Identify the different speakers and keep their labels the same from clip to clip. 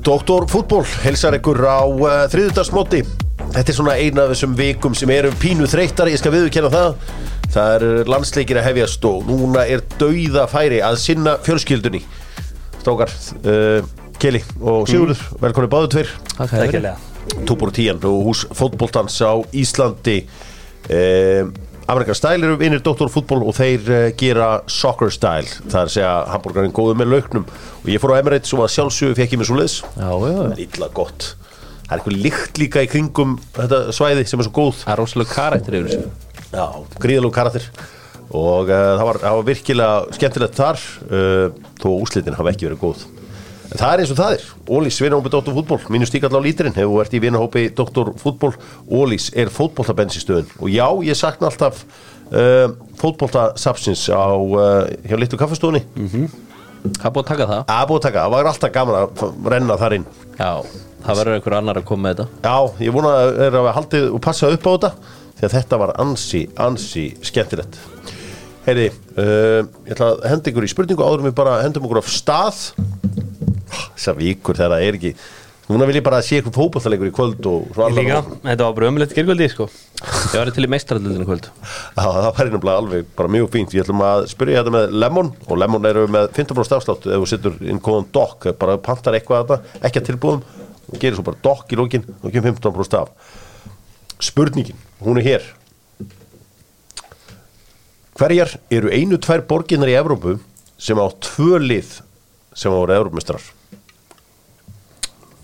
Speaker 1: Doktor fútból helsar ykkur á uh, þriðudagsmóti Þetta er svona eina af þessum vikum sem eru pínu þreyttar, ég skal viðurkenna það Það er landsleikir að hefjast og núna er dauða færi að sinna fjölskyldunni Strákar, uh, Keli og Sigurður, mm. velkonni báðu tveir
Speaker 2: Takk fyrir.
Speaker 1: Túbor og Tíjan og hús fótboltans á Íslandi eh, Amerikan Style eru vinnir doktorfútból og þeir eh, gera soccer style það er að segja hambúrgarinn góðu með lauknum og ég fór á Emirates og að sjálfsögðu fekk ég mér svo leiðis
Speaker 2: Já, já,
Speaker 1: það er illa gott það er eitthvað lykt líka í kringum þetta svæði sem er svo góð
Speaker 2: Það er rosalega karættir yfir þessu.
Speaker 1: Já, gríðalú karakter og uh, það, var, það var virkilega skemmtilegt þar uh, þó úslitin hafa ekki verið góð en það er eins og það er Ólís vinahópi Dr. Fútból, mínu stíkall á lítirinn hefur verið í vinahópi Dr. Fútból Ólís er fótboltabensistöðun og já, ég sakna alltaf uh, fótboltasapsins á uh, hjá Littu kaffastofunni
Speaker 2: Hvað búið að taka það?
Speaker 1: að búið að taka, það var alltaf gaman að f- renna þar inn
Speaker 2: Já, það verður einhver annar að koma með þetta.
Speaker 1: Já, ég vona að þeir hafa haldið og passað upp á þetta því að þetta var ansi, ansi skemmtilegt Heyri, uh, ég ætla að henda ykkur í spurningu áður en við bara hendum ykkur af stað Ah, Þessar vikur þegar það er ekki Núna vil ég bara að sé ykkur fótballtalegur í kvöld og svo
Speaker 3: Ég
Speaker 1: allan-
Speaker 3: líka, þetta var bara ömulegt gergöldi sko.
Speaker 2: Ég væri til í meistraröldinu kvöld.
Speaker 1: Já, það væri nefnilega alveg bara mjög fínt Ég ætlum að spyrja þetta með Lemon og Lemon eru með 50% afslátt ef þú setur inn kóðan DOC bara pantar eitthvað að þetta, ekki að tilbúðum og gerir svo bara DOC í lókin og kemur 15% af Spurningin, hún er hér Hverjar eru einu tvær borginar í Evrópu sem á tvö lið sem voru Evrópumistrar?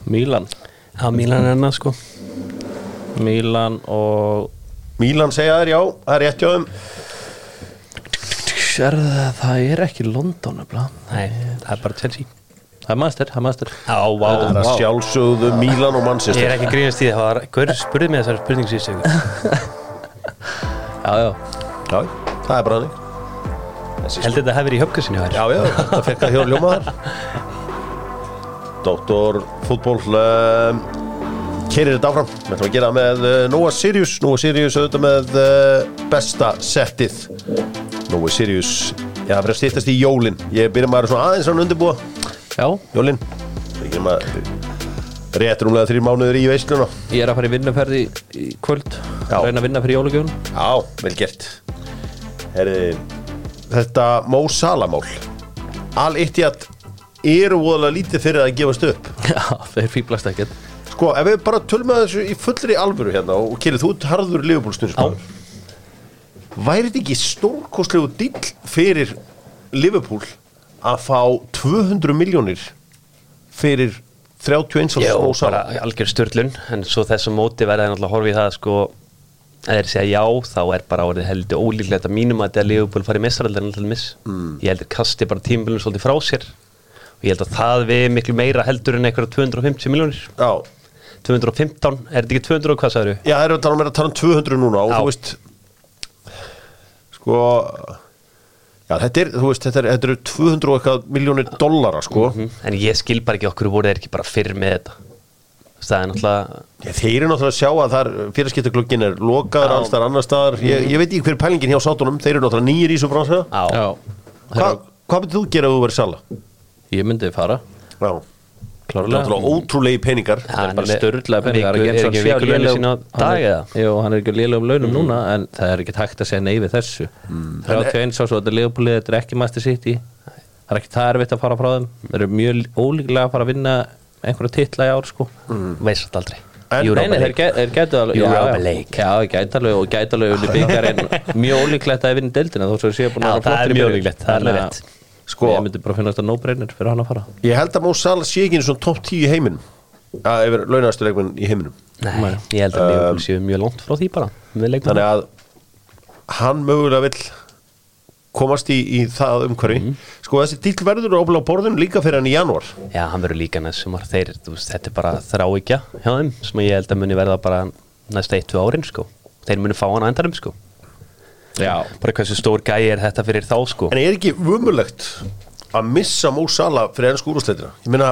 Speaker 2: Mílan.
Speaker 3: Já, Mílan er hennar sko
Speaker 2: Mílan og...
Speaker 1: Mílan segja þær, já, það er rétt hjá þeim
Speaker 2: Er það, það er ekki London, nefnilega.
Speaker 3: Nei, það er bara Chelsea
Speaker 2: Það er master, það er master.
Speaker 3: Já, vá,
Speaker 1: Það er að
Speaker 3: vá
Speaker 1: sjálfsögðu Mílan og
Speaker 3: Ég
Speaker 1: Manchester
Speaker 3: er ekki að grínast í það, það var, hver spurði mig þessari spurningu síðust ykkur?
Speaker 2: Já, já.
Speaker 1: Já, það er bara þannig
Speaker 3: Heldur þetta hefur í höfkusinu hér?
Speaker 1: Já, já, þetta fekk að hjóra ljóma þar Dóttor fútból um, Keirir þetta áfram Við ætlum að gera það með uh, Nóa Sirius Nóa Sirius auðvitað með uh, besta settið Nóa Sirius Já, það fyrir að stýttast í jólin Ég byrja maður svona aðeins rann undirbúa
Speaker 2: Já,
Speaker 1: Jólin Ég byrja maður Rétt rúmlega þrjir mánuður í veisluna
Speaker 2: ég er að fara í vinnaferði í kvöld.
Speaker 1: Já.
Speaker 2: Reyna að vinna fyrir jólugjöfun.
Speaker 1: Já, vel gert Herri, Þetta Mó Salamál Al Ittjad eru voðalega lítið fyrir að gefast upp
Speaker 2: Já, þeir fýblast ekkert.
Speaker 1: Sko, ef við bara tölum að þessu í fullri alvöru hérna og kýrið, þú ert harður Liverpool-stundsmaður Væri þetta ekki stórkostlegu dill fyrir Liverpool að fá 200 miljónir fyrir 31 árs
Speaker 3: Jó,
Speaker 1: Mo Salah?
Speaker 3: bara algjör störlun En svo þessu móti verða náttúrulega að horfa í það sko að þeir segja já, þá er bara orðið heldur ólíklegt að mínum að þetta Leopold fari mestaraldar alltaf miss. Mm. Ég heldur kasti bara tímbilum svolítið frá sér og ég held að það við miklu meira heldur en einhverja 250 miljónir
Speaker 1: Já,
Speaker 3: 215, er þetta ekki 200 og hvað sagður
Speaker 1: já, það eru að tala um er að tala um 200 núna og
Speaker 3: Já.
Speaker 1: þú veist sko Já, þetta er, þú veist, þetta er- þetta eru 200 og eitthvað miljónir dollara, sko
Speaker 2: Mhm.
Speaker 3: En ég skil bara ekki okkur voru þeir ekki bara fyrr með þetta Þú veist, Það er náttúrulega
Speaker 1: Já, Þeir eru náttúrulega að sjá að þar fyrirskiptaglöggin er lokaður alls þar annar staðar ég, ég veit ekki hver pælingin hjá sátunum, þeir eru náttúrulega nýjir í svo bransa
Speaker 3: á,
Speaker 2: Já.
Speaker 1: Hva, Hvað myndir þú gera ef þú verið sala?
Speaker 2: Ég myndi fara.
Speaker 1: Já,
Speaker 2: Klárlega.
Speaker 1: náttúrulega ótrúlegi peningar
Speaker 3: Já.
Speaker 2: Bara störðlega peningar
Speaker 3: Viku- er ekki viku launin sín á dag eða?
Speaker 2: Jó, hann er ekki lélega um launum núna en það er ekki hægt að segja nei við þessu 31 ás og þetta er legupúlið, þetta er ekki Master City það er ekki það erfitt að fara frá þeim þeir eru mjög ólíklega að fara að vinna einhverja titla í ár sko
Speaker 3: veist þetta aldrei
Speaker 1: En-
Speaker 3: Europa
Speaker 2: Nei, nei, þeir
Speaker 3: League.
Speaker 2: gæ- þeir gætu alveg já,
Speaker 3: Europa
Speaker 2: já.
Speaker 3: League.
Speaker 2: Já, þeir gætu alveg og gætu alveg unni byggjarinn mjög ólíklegt að þeir vinna deildina þó svo þeir séu búin
Speaker 3: Já,
Speaker 2: að vera
Speaker 3: það er
Speaker 2: flottir í
Speaker 3: mjög
Speaker 2: byrjun.
Speaker 3: líklegt, það er alveg
Speaker 2: Þannig að
Speaker 3: rétt.
Speaker 1: Sko.
Speaker 2: Ég myndi bara finna þetta no-brainer fyrir hann að fara
Speaker 1: Ég held að Mó Sala sé ekki eins og topp 10 í heiminum að yfir launastuleikminn í heiminum
Speaker 3: Nei, ég held að Leopold séu mjög langt frá því bara með leikmann
Speaker 1: Þannig að hann mögulega vill komast í, í það umhverfi Sko þessi dýll verður óbúlega á borðinu líka fyrir hann í janúar
Speaker 3: Já, hann verður líka næst sumar þeir, þú veist, þetta er bara þráikja hjá þeim sem ég held að muni verða bara næsta 1-2 árin, sko Þeir muni fá hann á endanum, sko
Speaker 2: Já,
Speaker 3: Bara hversu stór gæi er þetta fyrir þá, sko
Speaker 1: En er ekki umulegt að missa Mó Sala fyrir enn skúrúsleitina? Ég meina,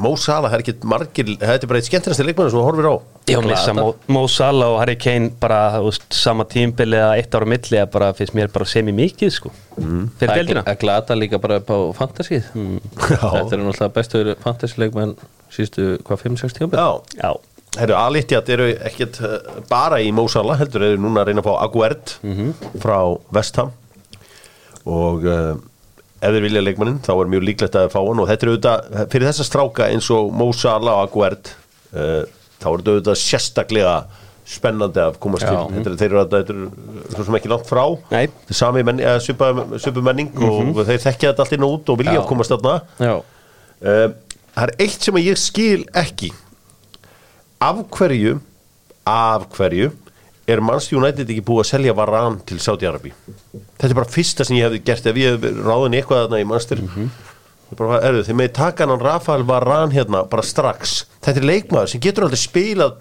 Speaker 1: Mó Sala, það er ekki margir, þetta er bara eitt skemmtilegasti leikmennir sem þú horfir á.
Speaker 3: Ég missa Mo, Mo Salah og Harry Kane bara, þú veist, sama tímbili eða eitt ára milli eða bara, finnst mér bara semi mikið, sko Fyrir
Speaker 2: Það er
Speaker 3: deildina
Speaker 2: gl- að glata líka bara upp á fantasíð þetta er náttúrulega bestu fantasíleikmenn síðustu, hvað, 5-6 tíma
Speaker 1: Já,
Speaker 3: Já,
Speaker 1: Herru, Alitjat eru ekkert eh, bara í Mósala, heldur eru núna að reyna að fá Aguert
Speaker 2: Mhm.
Speaker 1: frá Vestham og uh, ef þeir vilja leikmanninn þá er mjög líklegt að þeir fá hann og þetta er auðvitað, fyrir þessa stráka eins og Mósala og Aguert uh, þá er þetta auðvitað sérstaklega spennandi að komast
Speaker 2: Já.
Speaker 1: til þetta er, þeir eru að þetta er svo sem ekki langt frá
Speaker 3: Nei.
Speaker 1: Þetta er sami menn, eða, svipa, svipu menning og þeir þekkja þetta allt inn og út og vilja
Speaker 2: Mhm. Já.
Speaker 1: komast þarna
Speaker 2: Já,
Speaker 1: Eh, Það er eitt sem að ég skil ekki Af hverju Af hverju Er Manchester United ekki búið að selja varan til Saudi-Arabi Þetta er bara fyrsta sem ég hefði gert Ef ég hefði verið ráðin í eitthvað þarna í Manchester mm
Speaker 2: Mhm.
Speaker 1: -hmm. bara, erðu, Þeir með taka hann Rafael Varan hérna bara strax Þetta er leikmaður sem getur aldrei spilað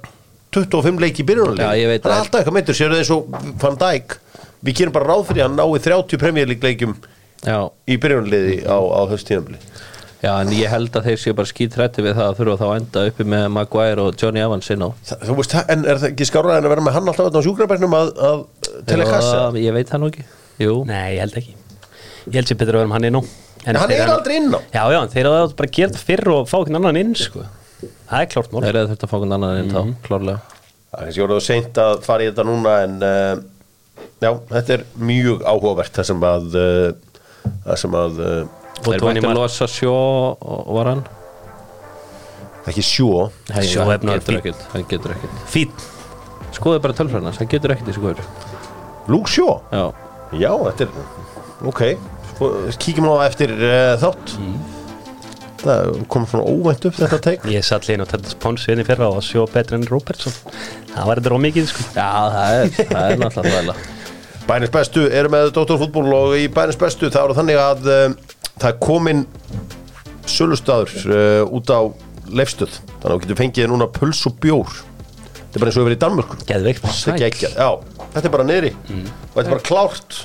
Speaker 1: 25 leik í byrjunarleik
Speaker 2: Já, ég veit
Speaker 1: Það er
Speaker 2: það.
Speaker 1: alltaf eitthvað meitur, sér það eins og Van Dijk Við gerum bara ráð fyrir að hann nái 30 premjörleikleikjum
Speaker 2: já
Speaker 1: í byrjunarliði á, á höstíðanbli
Speaker 2: Já, en ég held að þeir séu bara skítrætti við það að þurfa þá að enda uppi með Maguire og Johnny Evans inn á
Speaker 1: Þa- Þú veist, það- en er það ekki skárað en að vera með hann alltaf þarna á sjúkrabæknum að, að tella kassa?
Speaker 2: Já, Ég veit það nú ekki Jú,
Speaker 3: nei, ég held ekki Ég held sér betur að vera um hann inn á En
Speaker 1: Hann
Speaker 3: þeir
Speaker 1: er
Speaker 3: eru-
Speaker 1: aldrei inn á
Speaker 3: Já, já, en þeir eru að bara gera þetta fyrr og fá einhvern annan inn, sko Það er klárt mál
Speaker 2: þeir eru þurft að fá einhvern annan inn þá, klárlega
Speaker 1: Það er kannski orðið of seint að fara í þetta núna en uh, já, þetta er mjög áhugavert það sem að uh, það sem að uh,
Speaker 2: Þeir eru
Speaker 3: Tony
Speaker 2: ekki að
Speaker 3: Mar-
Speaker 2: losa sjó og var hann
Speaker 1: ekki sjó
Speaker 3: Shaw
Speaker 2: hann
Speaker 3: efnaður
Speaker 2: getur
Speaker 3: fín.
Speaker 2: ekkert, hann getur ekkert
Speaker 3: Fýtt
Speaker 2: Skoðu bara tölfræðinans, hann getur ekkert í skoður
Speaker 1: Luke Sjó?
Speaker 2: Já,
Speaker 1: Já, þetta er ok Svo kíkjum á það eftir uh, þátt Það kom svona óvænt upp þetta teik
Speaker 3: Ég satt líðin og tætti spónsu inn í fyrra og sjó betur enn Robertson Það var þetta rómikið, sko
Speaker 2: já það er, það er náttúrulega þvæla
Speaker 1: Bænins bestu eru með Dóttorfútból og í Bænins bestu það eru þannig að um, það er komin sölustadur uh, út á leifstöð þannig að þú getur fengið þér núna puls og bjór þetta er bara eins og við erum í Danmörku
Speaker 3: Geðveikt
Speaker 1: þetta er geggjað. Já, þetta er bara niðri og þetta er bara klárt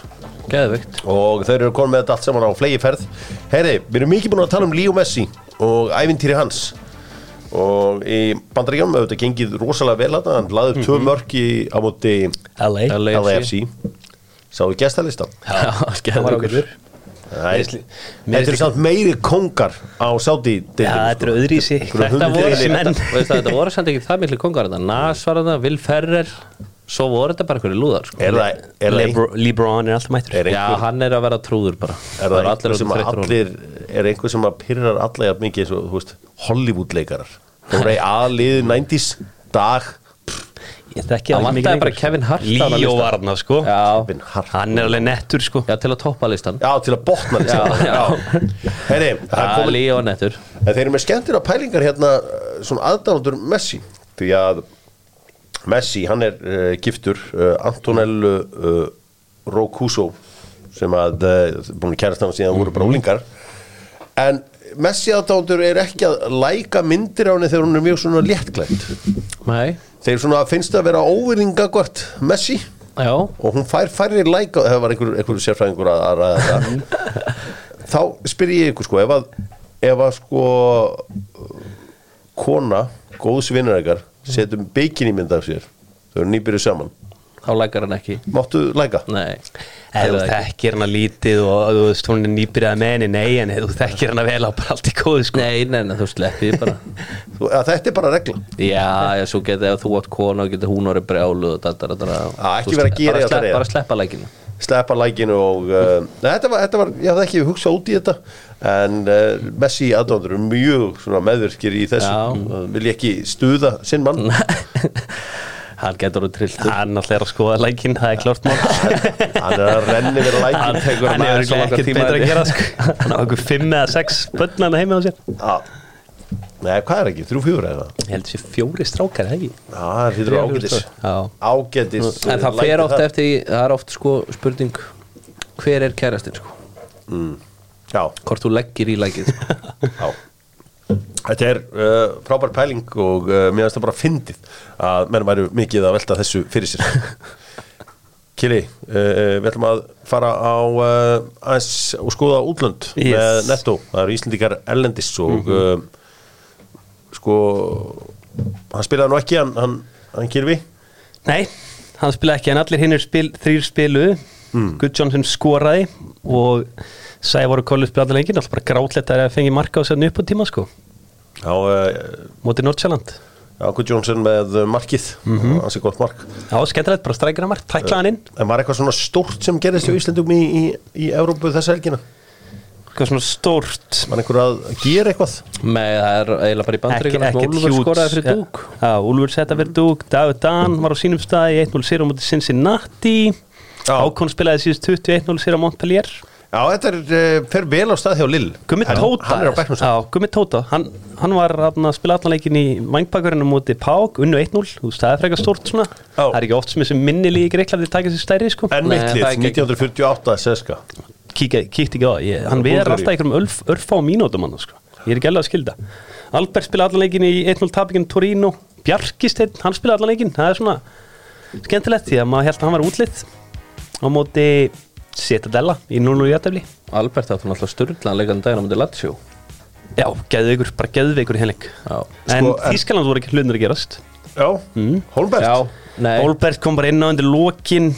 Speaker 2: Geðvikt
Speaker 1: og þeir eru komin með þetta allt saman á flegi ferð Heyri, við erum mikið búin að tala um Líu Messi og ævintýri hans og í bandaríkjum auðvitað gengið rosalega vel að hann laðið tvö mörki á móti
Speaker 3: LA
Speaker 2: LA.
Speaker 1: LAFC Sáðu gestalistan
Speaker 2: Já,
Speaker 3: Það var
Speaker 2: geðvikt
Speaker 3: ágætur
Speaker 1: Nei,
Speaker 3: Mér
Speaker 1: Þetta eru
Speaker 3: finnst-
Speaker 1: samt meiri kongar á sko. sáti
Speaker 3: Já, þetta eru öðrísi
Speaker 2: Þetta voru,
Speaker 1: Hundruð
Speaker 2: þetta,
Speaker 3: menn
Speaker 2: veist, það, þetta voru samt ekki það miklu kongar þetta Nas var þetta, Will Ferrer Svo voru þetta bara hverju lúðar sko.
Speaker 1: Er það, er það, ein-
Speaker 3: Lebr- LeBron er alltaf mættur
Speaker 1: er
Speaker 2: Já,
Speaker 1: einhver,
Speaker 2: hann er að vera trúður bara
Speaker 1: er það einhver sem að
Speaker 2: orðnir þreyttir á honum.
Speaker 1: allir er einhver sem að pyrrar alla jafn mikið eins og, þú veist, Hollywood leikarar Þú reyði aðlið 90s dag
Speaker 3: Ég þekki ekki
Speaker 2: Það
Speaker 3: mikið
Speaker 2: vantaði
Speaker 3: lengur.
Speaker 2: bara Kevin Hart á þennan
Speaker 3: Líó
Speaker 2: lista.
Speaker 3: var hann sko
Speaker 2: Já,
Speaker 1: Bin Hart.
Speaker 3: Hann er alveg nettur sko
Speaker 2: já, til að toppa listan
Speaker 1: Já, til að botna sko.
Speaker 2: Já, já.
Speaker 1: já. Heyri, það
Speaker 2: Já,
Speaker 1: komin,
Speaker 2: Leonettur
Speaker 1: En þeir eru með skemmtilega pælingar hérna eh, svona aðdándur Messi því að Messi, hann er uh, giftur uh, Antonellu uh, Rocuso sem að uh, búin að kærast hann síðan voru bara úlingar en Messi aðdándur er ekki að læka myndir á henni þegar hún er mjög svona léttklætt
Speaker 2: Nei,
Speaker 1: þeir svona finnst að vera óvinninga gott Messi
Speaker 2: já
Speaker 1: og hún fær færri læka það var einhver, einhver sérfræðingur að, að ræða þetta þá spyr ég ykkur sko ef að, ef að sko uh, kona góðs vinnar ykkar setum beikin í mynd af sér þau eru nýbyrju saman
Speaker 2: Þá lækar hann ekki
Speaker 1: máttu læka?
Speaker 2: Nei
Speaker 3: Ef þú
Speaker 2: það ekki.
Speaker 3: þekkir hann að lítið og þú veist hún er nýbyrjað með henni Nei, en ef þú þekkir hann að vel á bara allt í góðu sko
Speaker 2: Nei, nei, nei, þú sleppið bara
Speaker 1: Þú, að þetta er bara regla
Speaker 2: Já, já, svo getið ef þú átt kona og getið hún orðið brjálu og þetta, þetta, þetta
Speaker 1: Já, ekki vera að gera
Speaker 2: bara,
Speaker 1: þetta
Speaker 2: slepp,
Speaker 1: reyða.
Speaker 2: bara sleppa lækinu
Speaker 1: sleppa lækinu og uh, neð, þetta, var, þetta var, ég hafði ekki hugsað út í þetta en uh, Messi aðdóndur eru mjög svona meðvirkir í þessu
Speaker 2: Já.
Speaker 1: uh, vil ég ekki stuða sinn mann
Speaker 2: Hann getur orðið trillt
Speaker 3: Hann alltaf er að skoða lækin, það er klárt mál
Speaker 1: hann er að renni verið
Speaker 3: Hann
Speaker 1: lækin
Speaker 2: tekur
Speaker 3: hann
Speaker 2: maður
Speaker 3: hefur
Speaker 2: svo langan
Speaker 3: ekkert
Speaker 2: tíma
Speaker 3: betur
Speaker 2: í
Speaker 3: að
Speaker 2: þetta.
Speaker 3: gera sko Hann á einhver fimm eða sex börn hann heima á sér
Speaker 1: Já. Nei, hvað er ekki? Þrjú, fjúr eða?
Speaker 3: Ég held sér fjóri strákar, eða ekki?
Speaker 1: Já, það hlýtur
Speaker 3: Þrjú,
Speaker 1: ágætis
Speaker 3: fjögur, já.
Speaker 1: Ágætis
Speaker 2: En það fer oft eftir, í- það er oft sko spurning Hver er kærastinn sko?
Speaker 1: Já,
Speaker 2: Hvort þú leggir í lækið sko.
Speaker 1: já Þetta er uh, frábær pæling og uh, mér finnst það bara fyndið að menn væru mikið að velta þessu fyrir sér Kili, uh, uh, við ætlum að fara á uh, aðeins og skoða útlönd
Speaker 3: Yes.
Speaker 1: með Netto, það eru Íslendingar erlendis og
Speaker 2: Mhm.
Speaker 1: uh, sko hann spilaði nú ekki, hann, hann, hann Kilvi
Speaker 3: Nei, hann spila ekki en allir hinnir spil, þrýr spilu mm. Guðjónsson skoraði og Sævar og Kollu spila allir lengi alltaf bara grátlegt að fengi marka á sérna upp á tíma sko
Speaker 1: Já, uh,
Speaker 3: móti Nordsjælland
Speaker 1: Akku Johnson með markið mm -hmm. Ansi gott mark
Speaker 3: Já, skemmtilegt, bara strækina mark, tækla hann inn
Speaker 1: En var eitthvað svona stórt sem gerðist í Íslandum í, í, í Európu þessa helgina?
Speaker 3: Hvað svona stórt
Speaker 1: Var einhver að gera eitthvað?
Speaker 2: með það er eiginlega bara í bandryggjum Úlfur skoraði fyrir dúk
Speaker 3: Já, Úlfur setja fyrir dúk, David Dan var á sínum staði í 1-0 sér á móti Cincinnati
Speaker 1: Já.
Speaker 3: Ákon spilaði síðust 21-0 sér á Montpellier
Speaker 1: Já, þetta er, uh, fer vel á stað hjá Lill
Speaker 3: Gummi Tóta
Speaker 1: Hann er á bæknum
Speaker 3: Já, Gummi Tóta, hann, hann var hann, að spila allan leikin í vangbakverðinu móti Pák, unnu 1-0, þú veist, það er frekar stórt svona
Speaker 1: Já.
Speaker 3: Það er ekki oft sem þessi minnilík í Greiklandi tækja sér stærri, sko
Speaker 1: En
Speaker 2: Nei,
Speaker 1: mitt
Speaker 2: það er
Speaker 1: lið,
Speaker 2: ekki-
Speaker 1: 1948 Seska
Speaker 3: Kíkja- kíkti ekki á það, ég, hann
Speaker 1: Já,
Speaker 3: verður
Speaker 1: Búlgaríu.
Speaker 3: alltaf einhverjum örf, örfá mínútum hann, sko Ég er ekki alveg að skilda Albert spila allan leikin í 1-0 tapingin Torino Bjarkisteinn, hann spila allan leikin, það er svona skemmtilegt því að maður held að hann var útlitt á móti Setadella í 0-0 jættefli
Speaker 2: Albert átti náttúrulega styrlan leikann daginn á myndi Latsjó
Speaker 3: Já, geðveikur, bara geðveikur í henlik
Speaker 2: Já.
Speaker 3: En
Speaker 1: Sko, en-
Speaker 3: Þískaland voru ekki hlunir að gerast
Speaker 1: Já, mm. Holmberg
Speaker 2: Já, nei,
Speaker 3: Olbert kom bara inn á undir lokin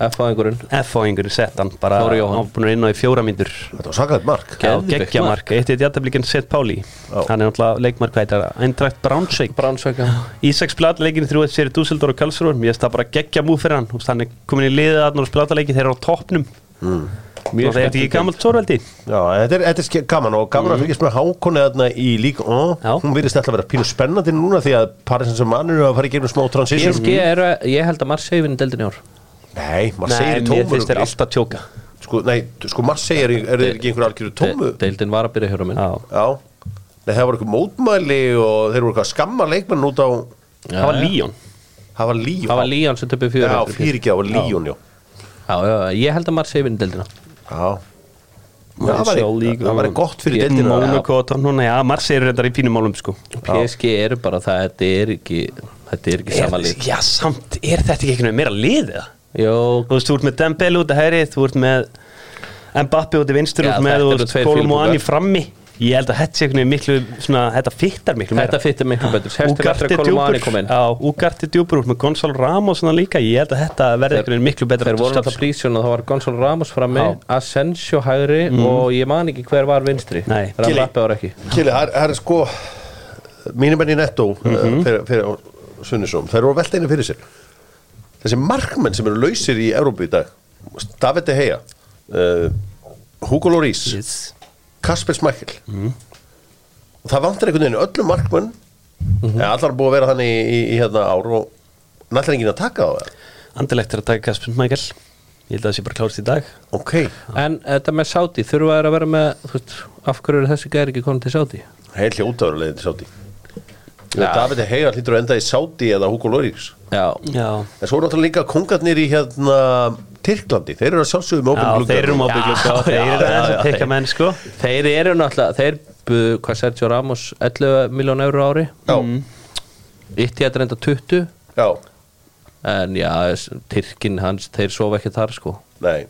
Speaker 2: F-fæðingurinn
Speaker 3: F-fáingur sett hann bara
Speaker 2: Þóri Jóhann.
Speaker 3: búin að inn á í fjóra mínútur
Speaker 1: Þetta var sakaðið mark
Speaker 2: Já. Geðveikt
Speaker 3: Geggja
Speaker 2: mark.
Speaker 3: mark, eitt eitt jættablikin Sett Páli
Speaker 1: Já.
Speaker 3: Hann er náttúrulega leikmark hvað heitir það Eindrakt Brownshaik
Speaker 2: Bránsveika
Speaker 3: Ísaks platleikin þrjú eitt fyrir Dúsildor og Kalsrúr Mér finnst það bara geggja múf fyrir hann Þú veist, Hann er komin í liðið að og platleiki þeir eru á toppnum
Speaker 2: Mjög
Speaker 3: Og þeir eru ekki
Speaker 2: skemmtilegt.
Speaker 3: gammalt stórveldi
Speaker 1: Já, þetta er, þetta er ske- gaman og gaman að fylgjast með hákonni þarna í lík
Speaker 3: Já.
Speaker 1: Hún virðist alltaf að vera pínu spennandi núna því að Paris sem mann eru að fara í gegnum smá transition
Speaker 2: PSG eru, ég held að Marseille vinni deildin í ár
Speaker 1: Nei, Marseille
Speaker 3: Nei,
Speaker 1: er
Speaker 3: mér
Speaker 1: tómur
Speaker 3: finnst þeir alltaf tjóka
Speaker 1: sko, Nei, sko Marseille er, er þeir ekki einhver algjöru tómu
Speaker 2: De- Deildin var að byrja hjóra minn
Speaker 3: Já.
Speaker 1: Já, nei, það var eitthvað mótmæli og þeir voru eitthvað að skamma leikmenn út á
Speaker 3: Það var Líón
Speaker 1: Það var Líón
Speaker 2: Það var Líón sem töpum
Speaker 1: Já,
Speaker 2: fjóra
Speaker 1: fyrir ekki, það var Líón, já
Speaker 2: Já, já, ég held að Marseille vinni deildina
Speaker 1: Já Það var, það var gott fyrir
Speaker 3: Ég-
Speaker 1: deildina
Speaker 3: Mónakó og Tornhúna, já, Marseille eru reyndar í pínum málum sko
Speaker 2: PSG eru bara það, þetta er ekki Þetta er ekki sama
Speaker 3: er,
Speaker 2: lið
Speaker 3: Já, samt, er þetta ekki einhvern veginn meira lið eða?
Speaker 2: Jó,
Speaker 3: Þú veist, þú ert með Dembele út að hæri, þú ert með Mbappi út í vinstur,
Speaker 2: Já,
Speaker 3: þú ert með,
Speaker 2: þetta
Speaker 3: þú
Speaker 2: eru
Speaker 3: veist,
Speaker 2: tveir
Speaker 3: Kolum og
Speaker 2: fílbúkar.
Speaker 3: Anni frammi Ég held að þetta sé einhvern veginn miklu, svona, þetta fittar miklu meira
Speaker 2: þetta fyrir miklu betur Sérstaklega
Speaker 3: Úgart
Speaker 2: eftir
Speaker 3: er
Speaker 2: að Kolumani kom
Speaker 3: djúpur,
Speaker 2: inn
Speaker 3: já, Úgart er djúpur, þú ert með Gonzalo Ramos svona líka Ég held að þetta verði einhvern veginn miklu betra
Speaker 2: Þeir voru alltaf prísjón og það var Gonzalo Ramos frammi
Speaker 3: Já.
Speaker 2: Asensio hægri og ég man ekki hver var vinstri
Speaker 3: Nei.
Speaker 2: Það
Speaker 1: Gilly.
Speaker 2: lappi ára ekki
Speaker 1: Kili, það er- það er sko mínum enn í netto mm
Speaker 2: Mhm.
Speaker 1: fyrir, fyrir Sunnisum, þær voru velta einu fyrir sér þessi markmenn sem eru lausir í Európu í dag David De Gea uh, Hugo Lloris
Speaker 3: Yes.
Speaker 1: Kasper Smækkel og það vantar einhvern veginn öllum markmenn mm -hmm. allar er búið að vera þannig í, í, í hérna ár og nættir enginn að taka á það
Speaker 3: Andilegt er að taka Kasper Michael Ég held að það sé bara klárst í dag
Speaker 1: ok,
Speaker 2: En þetta með Saudi, þurfa þær að vera með þú veist, Af hverju eru þessi gæri ekki komin til Saudi?
Speaker 1: heil hljótaðurlegin til Sáti ja. David De Gea hlýtur að enda í Sáti eða Hugo Lloris
Speaker 2: Já,
Speaker 3: Já,
Speaker 1: En svo er náttúrulega líka kongarnir í hérna Tyrklandi, þeir eru að sjálfsögum með
Speaker 3: já
Speaker 1: opinn glugga
Speaker 3: þeir eru mópið glugga og Þeir
Speaker 1: já,
Speaker 3: eru aðeins
Speaker 1: já,
Speaker 3: að tekja
Speaker 1: þeir-
Speaker 3: menn, sko
Speaker 2: þeir eru náttúrulega Þeir buðu, hvað Sergio Ramos 11 miljón eurur ári
Speaker 1: Já,
Speaker 2: Ítti að reynda 20
Speaker 1: já,
Speaker 2: En já, Tyrkin hans, þeir sofa ekki þar sko
Speaker 1: nei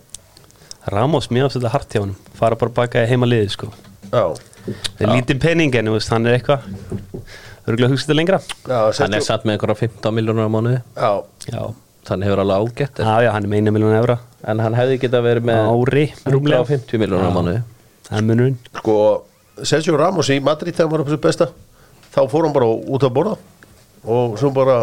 Speaker 3: Ramos, mér finnst þetta hart hjá hann fara bara baka í heima liði sko
Speaker 1: Já,
Speaker 3: það er lítið pening en þú veist, hann er eitthvað örgulega hugsa þetta lengra
Speaker 1: já,
Speaker 2: Hann er
Speaker 1: Sergio-
Speaker 2: samt með einhverja 15 miljónur á mánuði
Speaker 1: já,
Speaker 3: já,
Speaker 2: Þannig hefur alveg ágætt
Speaker 3: já, já hann er með einu miljón evra
Speaker 2: En hann hefði geta verið með
Speaker 3: Ári, rúmlega.
Speaker 2: 50 miljónur á mánuði
Speaker 3: það er munurinn
Speaker 1: sko Sergio Ramos í Madrid þegar hann var upp þessu besta þá fór hann bara út að borða og svo bara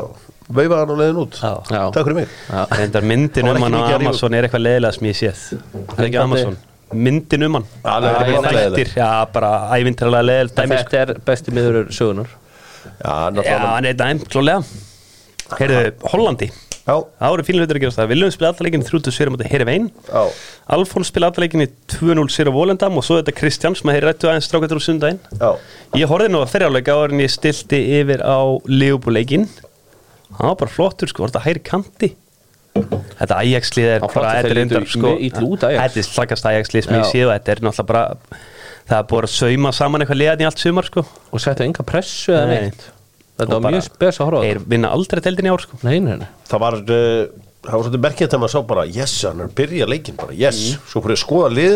Speaker 1: veifaði hann á leiðin út
Speaker 3: Já.
Speaker 2: Já.
Speaker 1: Takk fyrir mig
Speaker 2: Já.
Speaker 3: reyndar myndin
Speaker 1: Hann var
Speaker 3: um
Speaker 1: ekki
Speaker 3: hann
Speaker 1: mikið
Speaker 3: á
Speaker 1: að rífa.
Speaker 3: Amazon er eitthvað leðilega sem ég séð Það er
Speaker 2: Ekki
Speaker 3: ekki Amazon myndin um hann
Speaker 1: Já, það er
Speaker 3: Æ,
Speaker 1: bara
Speaker 3: þættir.
Speaker 1: leiðilegt.
Speaker 3: já, bara ævintralega leðil
Speaker 2: En
Speaker 3: dæmi sko.
Speaker 2: Þetta er besti miður sögunar
Speaker 1: Já, hann er
Speaker 3: já,
Speaker 1: þannig
Speaker 3: hann er dæm, klólega heyrðu, Hollandi
Speaker 1: Já,
Speaker 3: það voru fín hlutur að gerast það Viljum spila alltaf leikinni 34 mútið Hervein
Speaker 1: já,
Speaker 3: Alfons spila alltaf leikinni 2-0 sér á Volendam og svo þetta Kristján sem að heyra rættu aðeins strákættur úr sundaginn
Speaker 1: já
Speaker 3: Ég horfði nú að ferjáleika áður en ég stilti yfir á Leopoldleikin Það var bara flottur sko, var þetta hægri kanti Þetta Ajax-lið er
Speaker 2: Já, flott
Speaker 3: bara
Speaker 2: að
Speaker 3: þetta
Speaker 2: þeir
Speaker 3: er reyndar, sko,
Speaker 2: litu mjög illa út, Ajax.
Speaker 3: Þetta er slagast Ajax-lið sem ég
Speaker 2: Já.
Speaker 3: séu Þetta er náttúrulega bara Það er búið að sauma saman eitthvað liðan í allt sumar sko
Speaker 2: Og settu enga pressu eða
Speaker 3: Nei.
Speaker 2: neitt
Speaker 3: Og
Speaker 2: Þetta var
Speaker 3: bara-
Speaker 2: mjög spes að horfa á
Speaker 3: Þeir
Speaker 2: þetta.
Speaker 3: vinna aldrei deildin í ár sko
Speaker 2: Nei, nei, nei
Speaker 1: Það var, uh, það var svolítið merkið þegar maður sá bara yes, hann er að byrja leikin bara, yes Svo fór ég að skoða lið